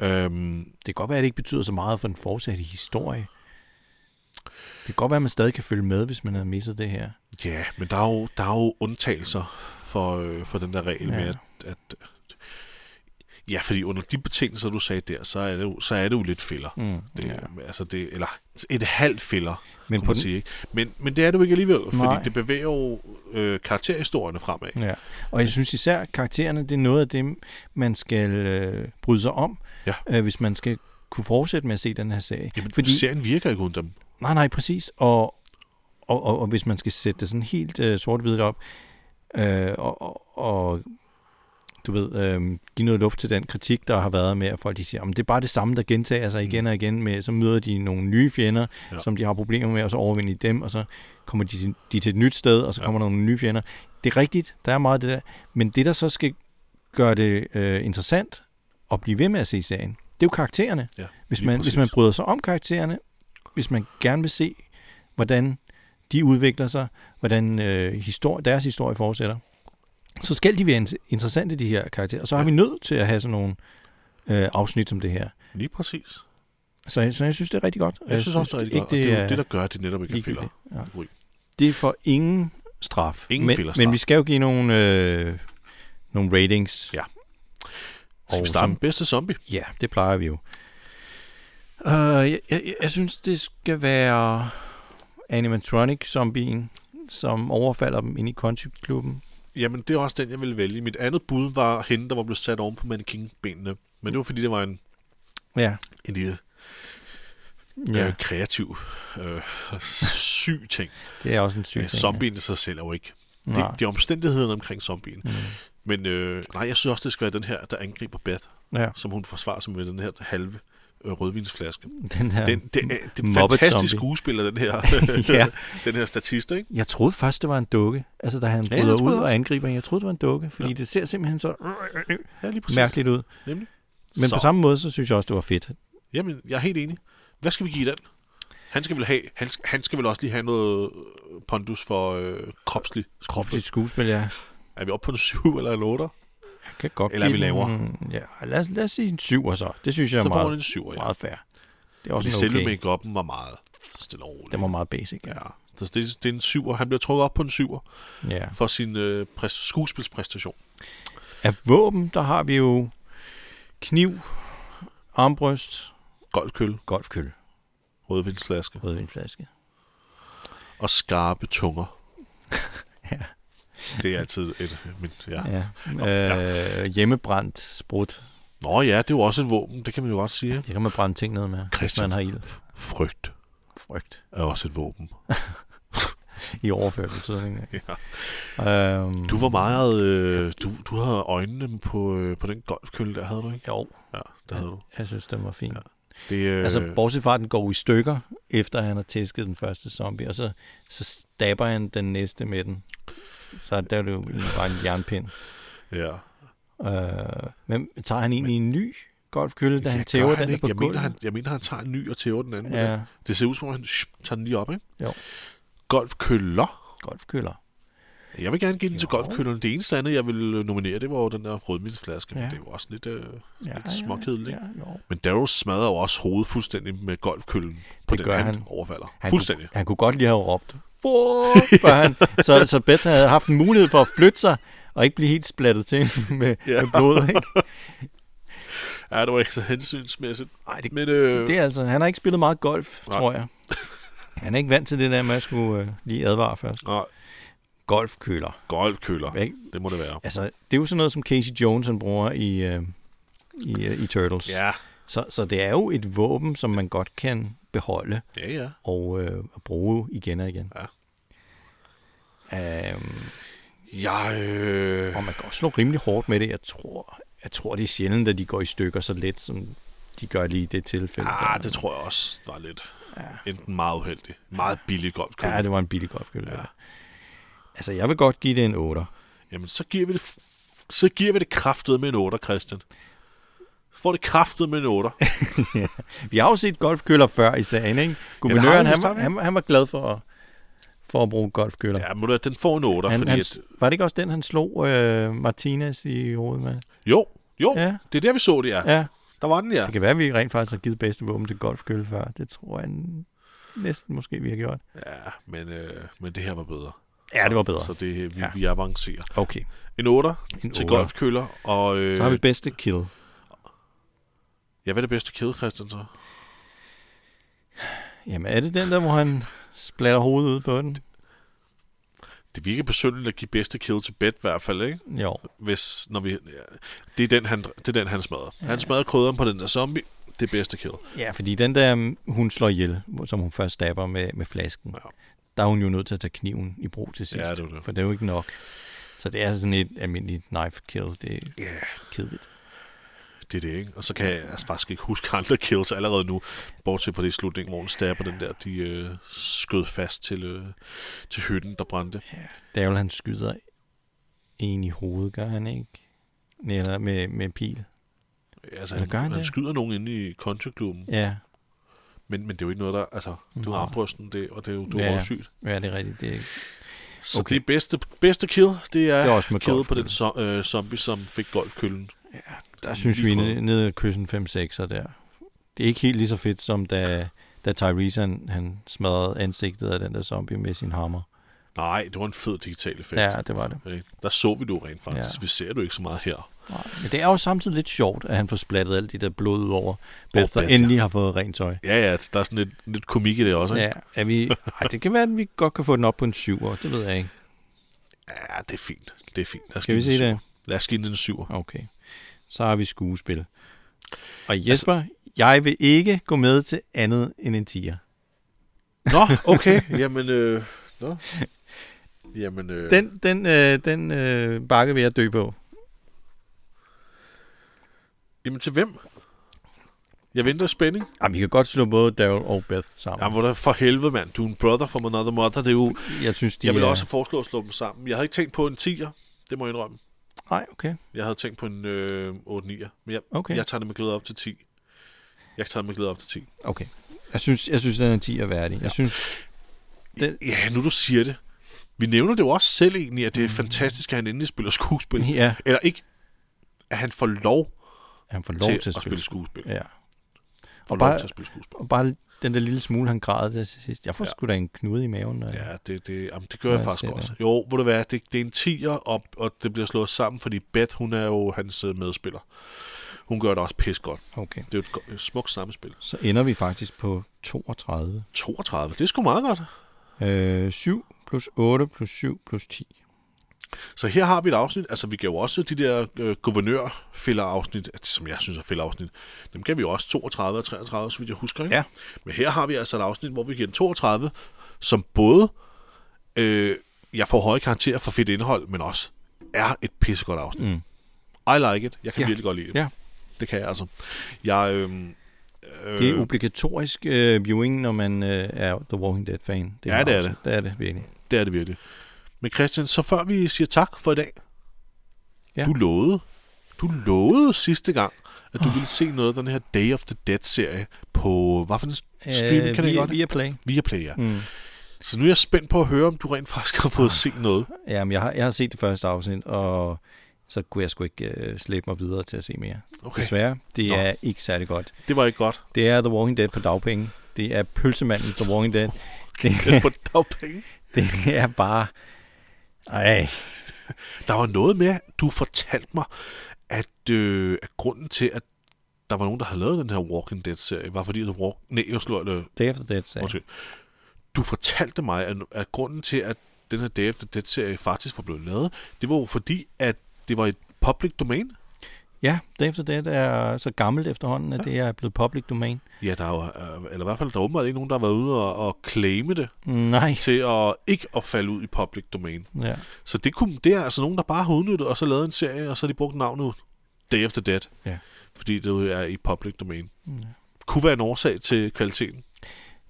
[SPEAKER 1] Øhm,
[SPEAKER 2] Det kan godt være, at det ikke betyder så meget for den fortsatte historie. Det kan godt være, at man stadig kan følge med, hvis man havde misset det her.
[SPEAKER 1] ja, men der er jo, der er jo undtagelser for, øh, for den der regel ja.
[SPEAKER 2] Ja.
[SPEAKER 1] med, at, at... Ja, fordi under de betingelser, du sagde der, så er det jo, så er det jo lidt filler.
[SPEAKER 2] Mm,
[SPEAKER 1] Det, ja. altså det, eller et halvt filler,
[SPEAKER 2] Men
[SPEAKER 1] men,
[SPEAKER 2] på
[SPEAKER 1] man
[SPEAKER 2] den-
[SPEAKER 1] sige, ikke? men, men det er det jo ikke alligevel, Nej.
[SPEAKER 2] Nej.
[SPEAKER 1] fordi det bevæger jo øh, karakterhistorierne fremad.
[SPEAKER 2] Ja. Og jeg synes især, at karaktererne, det er noget af det, man skal øh, bryde sig om,
[SPEAKER 1] Ja.
[SPEAKER 2] øh, hvis man skal kunne fortsætte med at se den her serie.
[SPEAKER 1] Jamen, fordi... serien virker ikke uden dem.
[SPEAKER 2] Nej, nej, præcis. Og, og, og, og hvis man skal sætte det sådan helt øh, sort-hvidt op, øh, og, og, og du ved, øh, give noget luft til den kritik, der har været med, at folk de siger, at det er bare det samme, der gentager sig igen og igen, med, så møder de nogle nye fjender,
[SPEAKER 1] Ja.
[SPEAKER 2] ja. som de har problemer med, og så overvinder de dem, og så kommer de, til- de til et nyt sted, og så
[SPEAKER 1] Ja.
[SPEAKER 2] ja. kommer der nogle nye fjender. Det er rigtigt, der er meget af det der, men det, der så skal gøre det øh, interessant at blive ved med at se serien, det er jo karaktererne.
[SPEAKER 1] Ja,
[SPEAKER 2] Hvis
[SPEAKER 1] lige
[SPEAKER 2] man, hvis
[SPEAKER 1] præcis.
[SPEAKER 2] man bryder sig om karaktererne, hvis man gerne vil se, hvordan de udvikler sig, hvordan øh, histori- deres historie fortsætter, så skal de være in- interessante, de her karakterer. Og så har vi nødt til at have sådan nogle øh, afsnit som det her.
[SPEAKER 1] Lige præcis.
[SPEAKER 2] Så, jeg- så jeg synes, det er rigtig godt.
[SPEAKER 1] Jeg, jeg synes også, det er rigtig godt, og det er jo det, der gør, at det netop ikke er
[SPEAKER 2] ligegyldigt.
[SPEAKER 1] filler.
[SPEAKER 2] Ja.
[SPEAKER 1] Ui.
[SPEAKER 2] det er for ingen straf.
[SPEAKER 1] Ingen
[SPEAKER 2] men,
[SPEAKER 1] filler straf.
[SPEAKER 2] men vi skal jo give nogle, øh, nogle ratings.
[SPEAKER 1] Ja. Skal
[SPEAKER 2] Og
[SPEAKER 1] vi starte
[SPEAKER 2] som-
[SPEAKER 1] med bedste zombie?
[SPEAKER 2] Ja, det plejer vi jo. Uh, jeg, jeg, jeg synes, det skal være animatronic-zombien, som overfalder dem ind i Concept-klubben.
[SPEAKER 1] Jamen, det er også den, jeg ville vælge. Mit andet bud var hende, der var blevet sat oven på mannequin-benene. Men det var, fordi det var en,
[SPEAKER 2] Ja.
[SPEAKER 1] en lille
[SPEAKER 2] ja.
[SPEAKER 1] øh, kreativ, øh, syg ting.
[SPEAKER 2] Det er også en syg
[SPEAKER 1] Ja,
[SPEAKER 2] ting. ja.
[SPEAKER 1] zombien i sig selv er jo ikke. Det,
[SPEAKER 2] Nej.
[SPEAKER 1] det er omstændighederne omkring zombien. Mm. Men øh, nej, jeg synes også, det skal være den her, der angriber Beth,
[SPEAKER 2] Ja,
[SPEAKER 1] som hun forsvarer sig med den her halve øh, rødvinsflaske.
[SPEAKER 2] den her.
[SPEAKER 1] Den, det, er, det er en
[SPEAKER 2] Muppet
[SPEAKER 1] fantastisk
[SPEAKER 2] zombie.
[SPEAKER 1] skuespiller, den her,
[SPEAKER 2] [laughs] Ja.
[SPEAKER 1] [laughs] den her statist, ikke?
[SPEAKER 2] Jeg troede først, det var en dukke. Altså, da han
[SPEAKER 1] jeg
[SPEAKER 2] bryder
[SPEAKER 1] troede
[SPEAKER 2] ud og
[SPEAKER 1] også.
[SPEAKER 2] angriber hende. Jeg troede, det var en dukke, fordi ja. det ser simpelthen så
[SPEAKER 1] Ja, lige præcis.
[SPEAKER 2] mærkeligt ud.
[SPEAKER 1] Nemlig.
[SPEAKER 2] Men
[SPEAKER 1] Så.
[SPEAKER 2] så. på samme måde, så synes jeg også, det var fedt.
[SPEAKER 1] Jamen, jeg er helt enig. Hvad skal vi give den? Han skal vel, have, han, sk- han skal vel også lige have noget øh, pondus for øh, kropslig.
[SPEAKER 2] Kropsligt skuespil, ja.
[SPEAKER 1] Er vi oppe på en 7 eller en 8?
[SPEAKER 2] Jeg kan godt
[SPEAKER 1] Eller
[SPEAKER 2] give
[SPEAKER 1] vi
[SPEAKER 2] den-
[SPEAKER 1] laver.
[SPEAKER 2] Ja, lad os, lad os sige en syver så. Det synes jeg
[SPEAKER 1] Så
[SPEAKER 2] er
[SPEAKER 1] får
[SPEAKER 2] meget,
[SPEAKER 1] hun en 7, ja.
[SPEAKER 2] meget fair. Det er også
[SPEAKER 1] Fordi
[SPEAKER 2] en
[SPEAKER 1] okay. selve
[SPEAKER 2] okay.
[SPEAKER 1] make-up'en var meget stille og roligt.
[SPEAKER 2] Den var meget basic, ja.
[SPEAKER 1] Ja, så det, det er en 7'er. Han bliver trukket op på en 7'er
[SPEAKER 2] ja.
[SPEAKER 1] for sin øh, præs, skuespilspræstation.
[SPEAKER 2] Af våben, der har vi jo kniv, armbryst,
[SPEAKER 1] Golfkølle,
[SPEAKER 2] golfkølle,
[SPEAKER 1] rødvinsflaske
[SPEAKER 2] rødvinflaske.
[SPEAKER 1] og skarpe tunger.
[SPEAKER 2] [laughs] Ja.
[SPEAKER 1] Det er altid et... Mit, ja.
[SPEAKER 2] Ja. Øh, hjemmebrændt sprut.
[SPEAKER 1] Nå ja, det er jo også et våben, det kan man jo godt sige.
[SPEAKER 2] Det kan man brænde ting ned med, hvis
[SPEAKER 1] Christian.
[SPEAKER 2] man har ild.
[SPEAKER 1] Frygt
[SPEAKER 2] Frygt
[SPEAKER 1] er også et våben.
[SPEAKER 2] i overført betydning.
[SPEAKER 1] [laughs] Ja.
[SPEAKER 2] øhm,
[SPEAKER 1] Du var meget... Øh, du, du havde øjnene på, øh, på den golfkølle der, havde du ikke?
[SPEAKER 2] Jo,
[SPEAKER 1] Ja, det havde du.
[SPEAKER 2] jeg synes, den var fin. Ja.
[SPEAKER 1] Det, øh,
[SPEAKER 2] Altså, bortset fra, at den går i stykker, efter han har tæsket den første zombie, og så, så stabber han den næste med den. Så der er det jo egentlig bare en jernpind.
[SPEAKER 1] ja.
[SPEAKER 2] Øh, men tager han egentlig en ny golfkølle, da han
[SPEAKER 1] Ja,
[SPEAKER 2] tæver
[SPEAKER 1] gør
[SPEAKER 2] den der
[SPEAKER 1] ikke?
[SPEAKER 2] på
[SPEAKER 1] jeg mener,
[SPEAKER 2] gulvet?
[SPEAKER 1] han, jeg mener, han tager en ny og tæver den anden. Ja.
[SPEAKER 2] Ja,
[SPEAKER 1] Det ser ud som om, han shh, tager den lige op, ikke?
[SPEAKER 2] Jo.
[SPEAKER 1] Golfkøller
[SPEAKER 2] golfkøller.
[SPEAKER 1] Jeg vil gerne give den til golfkølleren. Det eneste andet, jeg ville nominere, det var jo den der rødvinsflaske. Ja. Men det er jo også lidt, øh, ja, lidt småkedeligt. Ja,
[SPEAKER 2] ja, jo.
[SPEAKER 1] Men Daryl smadrer jo også hovedet fuldstændig med golfkøllen på
[SPEAKER 2] Det
[SPEAKER 1] den,
[SPEAKER 2] gør
[SPEAKER 1] han,
[SPEAKER 2] han.
[SPEAKER 1] overfalder.
[SPEAKER 2] Han
[SPEAKER 1] fuldstændig.
[SPEAKER 2] Kunne, han kunne godt lige have råbt, "Fuck", før han, så, så Beth havde haft en mulighed for at flytte sig, og ikke blive helt splattet til [laughs] med,
[SPEAKER 1] Ja.
[SPEAKER 2] ja. med blod. Ikke?
[SPEAKER 1] Ja, det var ikke så hensynsmæssigt.
[SPEAKER 2] Ej, det-
[SPEAKER 1] Men, [laughs] øh,
[SPEAKER 2] Det er altså, han har ikke spillet meget golf,
[SPEAKER 1] Nej.
[SPEAKER 2] tror jeg. Han er ikke vant til det der med at skulle øh, lige advare først.
[SPEAKER 1] Nej,
[SPEAKER 2] Golfkøler.
[SPEAKER 1] golfkøller.
[SPEAKER 2] Ikke?
[SPEAKER 1] Det må det være.
[SPEAKER 2] Altså, det er jo sådan noget, som Casey Jones han bruger i, øh, i, øh, i Turtles.
[SPEAKER 1] Ja,
[SPEAKER 2] Så, så det er jo et våben, som man godt kan beholde
[SPEAKER 1] ja, ja.
[SPEAKER 2] og øh, at bruge igen og igen.
[SPEAKER 1] Ja.
[SPEAKER 2] Øhm,
[SPEAKER 1] Jeg, øh,
[SPEAKER 2] og man kan også slå rimelig hårdt med det. Jeg tror, jeg tror det er sjældent, at de går i stykker så let, som de gør lige i det tilfælde.
[SPEAKER 1] ah, det tror jeg også var lidt ja. enten meget uheldig. Meget billig golfkøller.
[SPEAKER 2] ja, det var en billig golfkølle. Ja. Altså, jeg vil godt give det en 8.
[SPEAKER 1] Jamen, så giver vi det, f- så giver vi det kraftet med en 8, Christian. Får det kraftet med en 8.
[SPEAKER 2] Vi har jo set golfkøller før i sagen, ikke?
[SPEAKER 1] Ja, det har
[SPEAKER 2] Guvernøren,
[SPEAKER 1] vi
[SPEAKER 2] han,
[SPEAKER 1] vist,
[SPEAKER 2] var,
[SPEAKER 1] har vi.
[SPEAKER 2] han, var- han var glad for at, for at bruge golfkøller.
[SPEAKER 1] ja, men den får en 8,
[SPEAKER 2] han,
[SPEAKER 1] fordi
[SPEAKER 2] han,
[SPEAKER 1] at,
[SPEAKER 2] Var det ikke også den, han slog øh, Martinez i hovedet med?
[SPEAKER 1] Jo, jo, ja.
[SPEAKER 2] Ja.
[SPEAKER 1] det er der, vi så det, ja. ja.
[SPEAKER 2] Ja,
[SPEAKER 1] Der var den, ja.
[SPEAKER 2] det kan være, at vi rent faktisk har givet bedste våben til golfkølle før. Det tror jeg næsten måske, vi har gjort.
[SPEAKER 1] Ja, men, øh, men det her var bedre.
[SPEAKER 2] Ja, det var bedre.
[SPEAKER 1] Så det, øh, vi, ja.
[SPEAKER 2] Ja.
[SPEAKER 1] vi avancerer.
[SPEAKER 2] Okay.
[SPEAKER 1] En 8
[SPEAKER 2] En
[SPEAKER 1] til
[SPEAKER 2] otter.
[SPEAKER 1] golfkøller, og øh,
[SPEAKER 2] Så har vi bedste kill.
[SPEAKER 1] ja, hvad er det bedste kæde, Christian, så?
[SPEAKER 2] Jamen, er det den der, hvor han splatter hovedet ud på den?
[SPEAKER 1] Det virker besynderligt at give bedste kæde til bed i hvert fald, ikke?
[SPEAKER 2] Jo.
[SPEAKER 1] Hvis, når vi, ja, det, er den, han, det er den, han smadrer. Ja. Han smadrer krydderen på den der zombie. Det er bedste kæde.
[SPEAKER 2] Ja, fordi den der, mm, hun slår ihjel, hvor- som hun først stabber med, med flasken,
[SPEAKER 1] Ja.
[SPEAKER 2] ja. der er hun jo nødt til at tage kniven i brug til sidst.
[SPEAKER 1] Ja, det er jo det.
[SPEAKER 2] For det er jo ikke nok. Så det er sådan et almindeligt knife kill. Det er yeah. kedeligt.
[SPEAKER 1] Det er det, ikke? Og så kan jeg altså faktisk ikke huske andre kills allerede nu, bortset fra det i slutningen, hvor hun stabber den der, de øh, skød fast til, øh, til hytten, der brændte.
[SPEAKER 2] Davel, han skyder en i hovedet, gør han ikke? Nej, Eller med, med pil.
[SPEAKER 1] Altså,
[SPEAKER 2] Eller
[SPEAKER 1] han,
[SPEAKER 2] gør han
[SPEAKER 1] han, han
[SPEAKER 2] det?
[SPEAKER 1] skyder nogen inde i countryklubben,
[SPEAKER 2] Ja,
[SPEAKER 1] men, men det er jo ikke noget, der... Altså, det er jo
[SPEAKER 2] Nå.
[SPEAKER 1] armbrysten, det, og det er jo, det er
[SPEAKER 2] Ja,
[SPEAKER 1] jo
[SPEAKER 2] ja.
[SPEAKER 1] ja. sygt.
[SPEAKER 2] ja det er rigtigt. Det er,
[SPEAKER 1] Så
[SPEAKER 2] Okay.
[SPEAKER 1] okay. det bedste, bedste kill, det er,
[SPEAKER 2] Det er også med
[SPEAKER 1] killet på
[SPEAKER 2] golfkøllen.
[SPEAKER 1] den so, øh, zombie, som fik golfkøllen.
[SPEAKER 2] der synes vi,
[SPEAKER 1] lige
[SPEAKER 2] nede
[SPEAKER 1] prøvet.
[SPEAKER 2] nede af kyssen 5-6'er der. Det er ikke helt lige så fedt, som da, da Tyrese han, han smadrede ansigtet af den der zombie med sin hammer.
[SPEAKER 1] Nej, det var en fed digital effekt.
[SPEAKER 2] Ja, det var det.
[SPEAKER 1] Okay. Der så vi det jo rent faktisk.
[SPEAKER 2] Ja.
[SPEAKER 1] Vi ser det jo ikke så meget her.
[SPEAKER 2] Men det er jo samtidig lidt sjovt, at han får splattet alt det der blod ud over, hvis der
[SPEAKER 1] Beth, ja.
[SPEAKER 2] endelig har fået rent tøj.
[SPEAKER 1] Ja, ja, der er sådan lidt, lidt komik i det også, ikke?
[SPEAKER 2] Ja, er vi, ej, det kan være, at vi godt kan få den op på en 7 år. Det ved jeg ikke.
[SPEAKER 1] Ja, det er fint. Det er fint. Lad os
[SPEAKER 2] Skal
[SPEAKER 1] give
[SPEAKER 2] vi
[SPEAKER 1] den
[SPEAKER 2] se
[SPEAKER 1] en
[SPEAKER 2] det?
[SPEAKER 1] syver. Lad os give den en syver.
[SPEAKER 2] Okay. Så har vi skuespil. Og Jesper, altså, jeg vil ikke gå med til andet end en 10'er.
[SPEAKER 1] Nå, okay. Jamen, øh,
[SPEAKER 2] [laughs]
[SPEAKER 1] nå. Jamen, øh,
[SPEAKER 2] Den, den, øh, den øh, bakke vil jeg dø på.
[SPEAKER 1] jamen, til hvem? Jeg venter i spænding.
[SPEAKER 2] Jamen, vi kan godt slå både Daryl og Beth sammen.
[SPEAKER 1] Jamen, hvor der for helvede, mand. Du er en brother from another mother. Det er jo,
[SPEAKER 2] jeg synes, de
[SPEAKER 1] jeg ville
[SPEAKER 2] er...
[SPEAKER 1] også have foreslået at slå dem sammen. Jeg havde ikke tænkt på en 10'er. Det må jeg indrømme.
[SPEAKER 2] Nej, okay.
[SPEAKER 1] Jeg havde tænkt på en øh, 8-9'er. Men jeg,
[SPEAKER 2] Okay.
[SPEAKER 1] jeg tager det med glæde op til 10. Jeg tager det med glæde op til 10.
[SPEAKER 2] okay. Jeg synes, jeg synes den er en 10 er værdig. Jeg synes, Den-
[SPEAKER 1] Ja, nu du siger det. Vi nævner det jo også selv egentlig, at det er fantastisk, at han endelig spiller skuespil.
[SPEAKER 2] Mm. Ja.
[SPEAKER 1] Eller ikke, at han får lov
[SPEAKER 2] han får lov
[SPEAKER 1] til,
[SPEAKER 2] til,
[SPEAKER 1] at spille skuespil.
[SPEAKER 2] Ja.
[SPEAKER 1] Får
[SPEAKER 2] bare-
[SPEAKER 1] lov til at spille skuespil.
[SPEAKER 2] Og bare den der lille smule, han græd der til sidst. Jeg får ja. sgu da en knude i maven. Og...
[SPEAKER 1] Ja, det, det, jamen, det gør jeg
[SPEAKER 2] jeg
[SPEAKER 1] faktisk
[SPEAKER 2] ser
[SPEAKER 1] også. Det. Jo, hvor det være, det, det er en 10'er, og, og det bliver slået sammen, fordi Beth, hun er jo hans øh, medspiller. Hun gør det også pis godt.
[SPEAKER 2] Okay.
[SPEAKER 1] Det er jo et, go- et smukt samspil.
[SPEAKER 2] Så ender vi faktisk på 32.
[SPEAKER 1] 32, det er sgu meget godt.
[SPEAKER 2] Øh, 7 plus 8 plus 7 plus 10.
[SPEAKER 1] Så her har vi et afsnit. Altså, vi gav jo også de der øh, guvernør-filler-afsnit, at- som jeg synes er filler-afsnit. Dem gav vi jo også 32 og 33, så vidt jeg husker. Ikke?
[SPEAKER 2] Ja.
[SPEAKER 1] Men her har vi altså et afsnit, hvor vi giver den 32, som både øh, jeg får høje karakterer for fedt indhold, men også er et pissegodt afsnit. Mm. I like it. Jeg kan
[SPEAKER 2] Ja.
[SPEAKER 1] virkelig godt lide det.
[SPEAKER 2] Ja.
[SPEAKER 1] Det kan jeg altså. Jeg, øh,
[SPEAKER 2] Det er obligatorisk øh, viewing, når man øh, er The Walking Dead-fan.
[SPEAKER 1] Ja, det er
[SPEAKER 2] afsnit. Det er det, virkelig.
[SPEAKER 1] det er det virkelig. Men Christian, så før vi siger tak for i dag, ja.
[SPEAKER 2] Ja.
[SPEAKER 1] du lovede, du lovede sidste gang, at du ville se noget af den her
[SPEAKER 2] Øh,
[SPEAKER 1] Day of the Dead-serie på, hvad for en streaming kan
[SPEAKER 2] via,
[SPEAKER 1] det godt?
[SPEAKER 2] via Play.
[SPEAKER 1] Viaplay, ja. Mm. Så nu er jeg spændt på at høre, om du rent faktisk har
[SPEAKER 2] Ah.
[SPEAKER 1] fået set noget.
[SPEAKER 2] Jamen, jeg har, jeg har set det første afsnit, og så kunne jeg sgu ikke øh, slæbe mig videre til at se mere.
[SPEAKER 1] Okay.
[SPEAKER 2] Desværre, det
[SPEAKER 1] Nå.
[SPEAKER 2] er ikke særlig godt.
[SPEAKER 1] Det var ikke godt.
[SPEAKER 2] Det er The Walking Dead på dagpenge. Det er pølsemanden The Walking Dead. [laughs]
[SPEAKER 1] [laughs]
[SPEAKER 2] Det,
[SPEAKER 1] Det er på dagpenge.
[SPEAKER 2] det er bare... Ej,
[SPEAKER 1] Der var noget med, du fortalte mig, at, øh, at grunden til, at der var nogen, der havde lavet den her Walking Dead-serie, var fordi, at Walk... Nej, jeg slår det.
[SPEAKER 2] Day After Dead sagde
[SPEAKER 1] Undskyld. Du fortalte mig, at, at grunden til, at den her Day After Dead-serie faktisk var blevet lavet, det var jo fordi, at det var et public domain.
[SPEAKER 2] Ja, Day After Dead er så gammelt efterhånden, at det er blevet public domain.
[SPEAKER 1] Ja, der er jo, øh, eller i hvert fald, der er åbenbart ikke nogen, der har været ude og, og claime
[SPEAKER 2] [laughs]
[SPEAKER 1] det
[SPEAKER 2] Nej.
[SPEAKER 1] til at ikke at falde ud i public domain.
[SPEAKER 2] Ja.
[SPEAKER 1] Så det, kunne, det er altså nogen, der bare har udnyttet, og så lavet en serie, og så har de brugt navnet Day After Dead.
[SPEAKER 2] Ja.
[SPEAKER 1] Fordi det jo er i public domain. Ja.
[SPEAKER 2] Mm.
[SPEAKER 1] Kunne være en årsag til kvaliteten.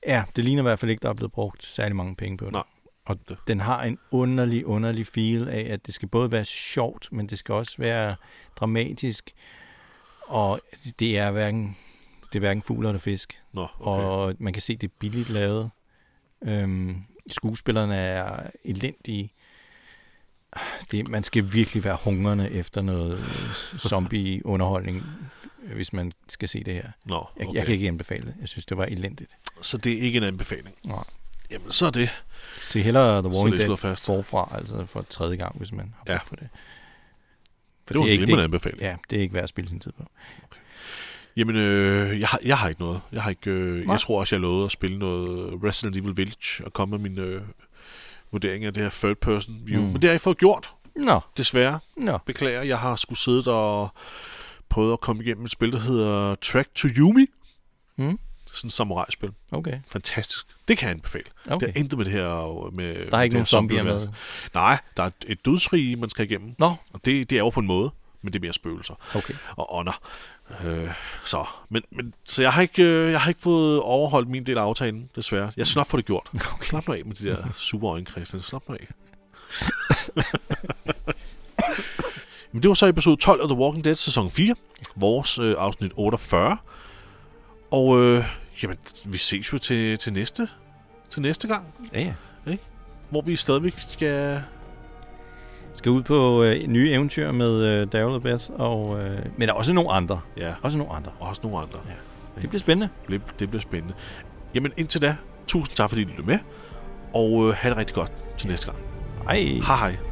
[SPEAKER 2] ja, det ligner i hvert fald ikke, der er blevet brugt særlig mange penge på det.
[SPEAKER 1] Nej.
[SPEAKER 2] Og den har en underlig, underlig feel af, at det skal både være sjovt, men det skal også være dramatisk. Og det er hverken, det er hverken fugl eller fisk.
[SPEAKER 1] Nå, okay. Og...
[SPEAKER 2] og man kan se, det er billigt lavet. Øhm, skuespillerne er elendige. Det, man skal virkelig være hungrende efter
[SPEAKER 1] [laughs]
[SPEAKER 2] noget øh, zombie-underholdning, f- hvis man skal se det her.
[SPEAKER 1] Nå,
[SPEAKER 2] Jeg,
[SPEAKER 1] okay.
[SPEAKER 2] jeg kan ikke anbefale det. Jeg synes, det var elendigt.
[SPEAKER 1] Så det er ikke en anbefaling.
[SPEAKER 2] Nej.
[SPEAKER 1] Jamen, så er det.
[SPEAKER 2] Se hellere The
[SPEAKER 1] det
[SPEAKER 2] Walking
[SPEAKER 1] er
[SPEAKER 2] Dead
[SPEAKER 1] slået fast.
[SPEAKER 2] forfra, altså for tredje gang, hvis man har brug
[SPEAKER 1] Ja.
[SPEAKER 2] ja. for det. For
[SPEAKER 1] Det var en glimrende
[SPEAKER 2] det,
[SPEAKER 1] anbefaling.
[SPEAKER 2] Ja, det er ikke værd at spille sin tid på.
[SPEAKER 1] Jamen, øh, jeg, har, jeg har ikke noget. Jeg har ikke, øh,
[SPEAKER 2] Nej.
[SPEAKER 1] jeg tror også, jeg lovede at spille noget Resident Evil Village og komme med min øh, vurdering af det her third person view. Mm. Men det har jeg ikke fået gjort,
[SPEAKER 2] Nå,
[SPEAKER 1] desværre.
[SPEAKER 2] nå.
[SPEAKER 1] Beklager, jeg har skulle siddet og prøvet at komme igennem et spil, der hedder Track to Yumi.
[SPEAKER 2] Mm.
[SPEAKER 1] Sådan et samurai-spil.
[SPEAKER 2] Okay.
[SPEAKER 1] Fantastisk. Det kan jeg anbefale. Okay.
[SPEAKER 2] Okay.
[SPEAKER 1] Det er intet med det her... øh, Med,
[SPEAKER 2] Der er ikke nogen zombier
[SPEAKER 1] zombie-univers.
[SPEAKER 2] med.
[SPEAKER 1] Nej, der er et dødsrige, man skal igennem.
[SPEAKER 2] Nå,
[SPEAKER 1] Og det, det er jo på en måde, men det er mere spøgelser
[SPEAKER 2] okay.
[SPEAKER 1] og ånder. Øh, så men, men, så jeg, har ikke, øh, jeg har ikke fået overholdt min del af aftalen, desværre. Jeg skal nok få det gjort. Okay. Slap nu af med de der super øjne, Christian. Slap nu af. men det var så episode 12 af The Walking Dead, sæson 4. Vores øh, afsnit 48. Og øh, jamen, vi ses jo til, til, næste, til næste gang,
[SPEAKER 2] Ja, ja.
[SPEAKER 1] hvor vi stadigvæk skal...
[SPEAKER 2] skal ud på øh, nye eventyr med øh, Daryl og Beth, og, øh, men også nogle andre.
[SPEAKER 1] Ja,
[SPEAKER 2] Også nogle andre.
[SPEAKER 1] også nogle andre.
[SPEAKER 2] Ja. Det bliver spændende.
[SPEAKER 1] Det, det bliver spændende. Jamen indtil da, tusind tak fordi I lyttede med, og øh, have det rigtig godt til næste gang.
[SPEAKER 2] Ej.
[SPEAKER 1] Hej hej.